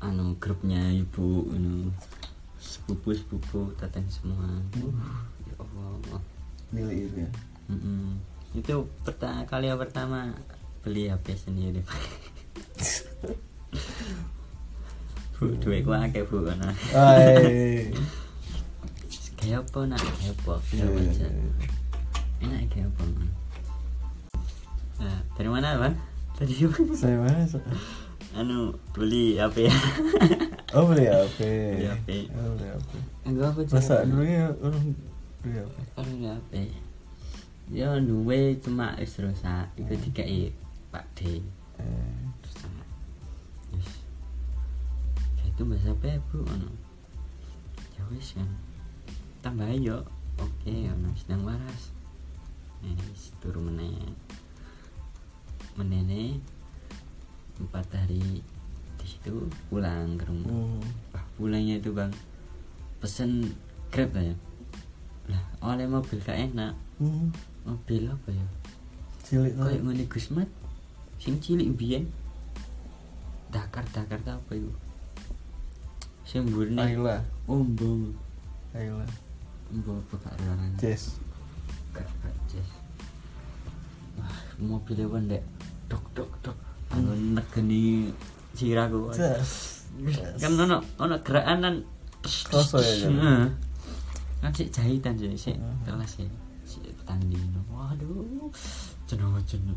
Speaker 2: anu grupnya ibu, anu sepupu sepupu datang semua. Uh, ya Allah.
Speaker 1: Milih itu ya.
Speaker 2: Mm-mm. Itu pertama kali yang pertama beli HP sendiri. bu, duit gua akeh bu, nah.
Speaker 1: Hai.
Speaker 2: Kayak apa nak? Kayak apa?
Speaker 1: Iya,
Speaker 2: Kayak
Speaker 1: iya,
Speaker 2: apa?
Speaker 1: iya.
Speaker 2: Enak kayak apa? Man? Nah, dari mana bang? Tadi Bang?
Speaker 1: Saya mana? Sa-
Speaker 2: anu beli HP ya?
Speaker 1: Oh, beli HP.
Speaker 2: Beli HP.
Speaker 1: Oh, beli HP.
Speaker 2: Enggak apa
Speaker 1: Masa dulunya orang beli HP.
Speaker 2: Anu HP. Ya duwe cuma wis rusak. Iku dikai Pak D.
Speaker 1: Eh,
Speaker 2: Rusak. Wis. Ya itu bahasa apa ya bu? Anu. Ya wis kan. Tambah yo. Oke, anu sedang waras. Nah, wis turu meneh. Menene empat hari di situ pulang ke rumah.
Speaker 1: hmm.
Speaker 2: Wah, pulangnya itu bang pesen grab ya lah oleh mobil gak enak
Speaker 1: Hmm.
Speaker 2: mobil apa ya
Speaker 1: Cilik
Speaker 2: kayak
Speaker 1: tuh.
Speaker 2: ngene Gusmat sing cilik biyen Dakar Dakar ta apa itu sing Oh, murni
Speaker 1: Ayla.
Speaker 2: ombo
Speaker 1: Ayla.
Speaker 2: ombo apa gak ruangan
Speaker 1: Jess.
Speaker 2: gak gak jas wah mobilnya pendek dok dok dok aku negeni siraku
Speaker 1: Hmm. Jess.
Speaker 2: kan ono ono gerakan kan
Speaker 1: Kroso ya, Jan?
Speaker 2: Heeh. kan sik jahitan sih sik kelas ya sik tandino waduh jeneng jeneng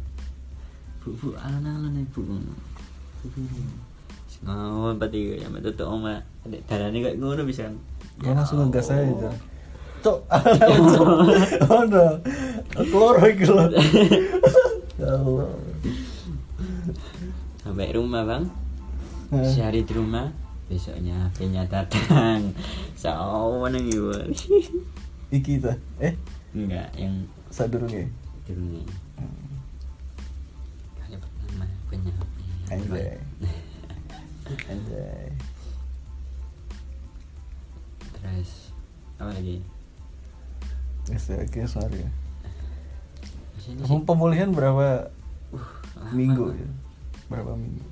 Speaker 2: bu bu alon-alon ya bu Bu, bu, bu. Sing ngawon pati ya metu tok oma nek dalane kok ngono bisa kan
Speaker 1: Gue Oh, langsung ngegas aja Jar. Cok, ada Cok. Oh no Keluar woy, keluar Ya Allah
Speaker 2: sampai rumah bang
Speaker 1: Eh.
Speaker 2: sehari di rumah besoknya HP-nya datang sawo nang iku
Speaker 1: Iki ta Eh,
Speaker 2: enggak yang
Speaker 1: sadurunge
Speaker 2: dulu
Speaker 1: Hmm.
Speaker 2: kali pertama punya
Speaker 1: Anjay Anjay
Speaker 2: terus apa lagi
Speaker 1: Yes, ya, Oke, sorry ya
Speaker 2: Sini, sini.
Speaker 1: Pem- Pemulihan berapa
Speaker 2: Lama,
Speaker 1: minggu
Speaker 2: Bang.
Speaker 1: ya? Berapa minggu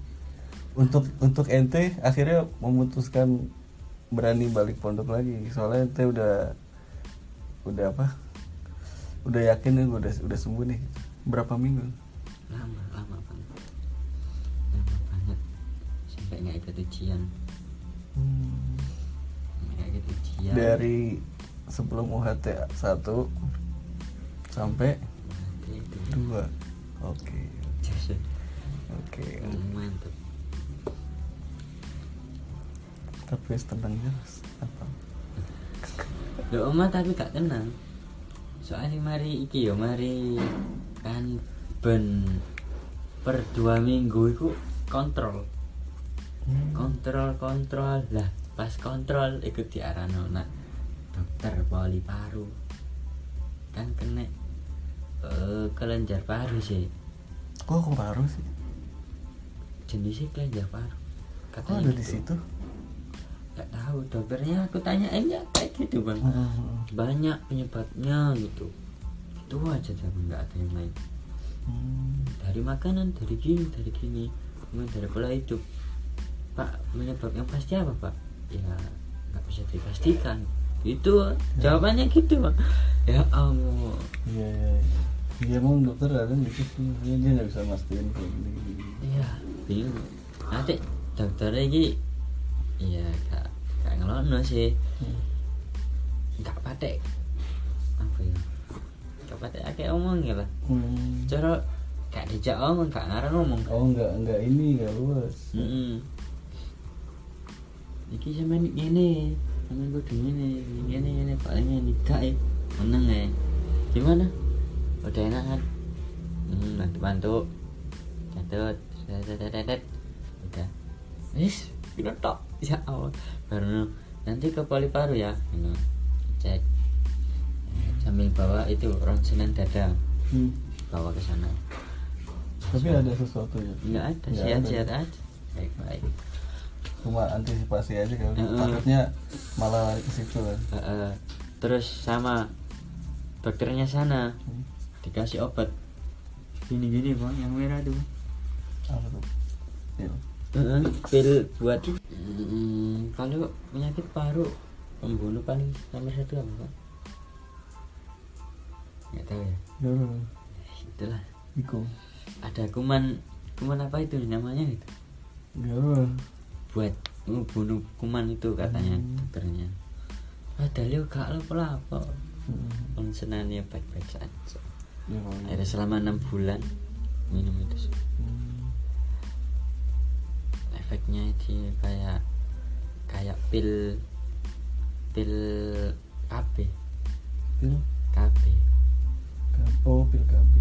Speaker 1: Untuk untuk ente akhirnya memutuskan berani balik pondok lagi Soalnya ente udah Udah apa Udah yakin nih udah, udah sembuh nih Berapa minggu?
Speaker 2: lama lama banget lama banget sampai nggak ikut ujian
Speaker 1: Hmm.
Speaker 2: nggak ikut ujian
Speaker 1: dari sebelum UHT 1 sampai
Speaker 2: Berarti itu
Speaker 1: 2 oke
Speaker 2: Jasa. Oh,
Speaker 1: oke
Speaker 2: mantap
Speaker 1: tapi tenangnya apa
Speaker 2: Loh oma tapi gak kenal Soalnya mari iki yo mari kan ben per dua minggu itu kontrol kontrol kontrol lah pas kontrol ikut diarano nak dokter poli paru kan kena eh kelenjar paru sih
Speaker 1: kok aku baru sih
Speaker 2: jenisnya kelenjar paru
Speaker 1: kok
Speaker 2: gitu.
Speaker 1: ada di situ
Speaker 2: gak tahu dokternya aku tanyain ya kayak gitu bang
Speaker 1: Hmm.
Speaker 2: banyak penyebabnya gitu itu aja tapi nggak ada yang lain
Speaker 1: Hmm.
Speaker 2: dari makanan dari gini dari gini kemudian dari pola hidup pak penyebab yang pasti apa pak ya nggak bisa dipastikan itu jawabannya gitu bang ya allah
Speaker 1: iya iya iya. iya emang dokter ada dikit tuh dia dia nggak bisa mastiin kalau gini gini
Speaker 2: iya bingung nanti dokternya iki iya gak gak ngelono sih gak patek apa ya gak patek akeh omong ya lah
Speaker 1: hmm.
Speaker 2: cara gak dijak omong gak ngarang ngomong
Speaker 1: oh nggak nggak ini nggak luas
Speaker 2: Mm-mm. Iki sampe ngene, sampe kudu ngene, ngene ngene paling ngene gak ya. Meneng ya. Gimana? Udah enak kan? Hmm, bantu bantu. Bantu. Tetetetetet. Udah. Wis, kira tok. Ya Allah. Baru nanti ke Poliparu ya. Ngono. Cek. Eh, Sambil bawa itu ronsenan dada
Speaker 1: hmm.
Speaker 2: bawa ke sana.
Speaker 1: tapi ada sesuatu ya
Speaker 2: Enggak ada,
Speaker 1: Nggak
Speaker 2: sehat-sehat aja. Baik-baik.
Speaker 1: cuma antisipasi aja kan
Speaker 2: Heeh.
Speaker 1: takutnya malah lari ke situ kan
Speaker 2: Heeh. terus sama dokternya sana
Speaker 1: Hmm.
Speaker 2: dikasih obat gini gini bang yang merah tuh
Speaker 1: apa tuh Iya.
Speaker 2: pil buat Mm, kalau penyakit paru pembunuh paling nomor satu apa pak nggak tahu ya
Speaker 1: ya udah
Speaker 2: Eh, itulah
Speaker 1: Iko
Speaker 2: ada kuman kuman apa itu namanya itu
Speaker 1: ya udah
Speaker 2: buat membunuh kuman itu katanya
Speaker 1: Hmm.
Speaker 2: dokternya padahal ya gak lo pelapa pensenannya baik-baik saja
Speaker 1: ya pokoknya.
Speaker 2: Akhirnya selama enam bulan minum itu
Speaker 1: Hmm.
Speaker 2: efeknya itu kayak kayak pil pil KB
Speaker 1: Pil
Speaker 2: KB
Speaker 1: Kab- oh pil KB Hmm.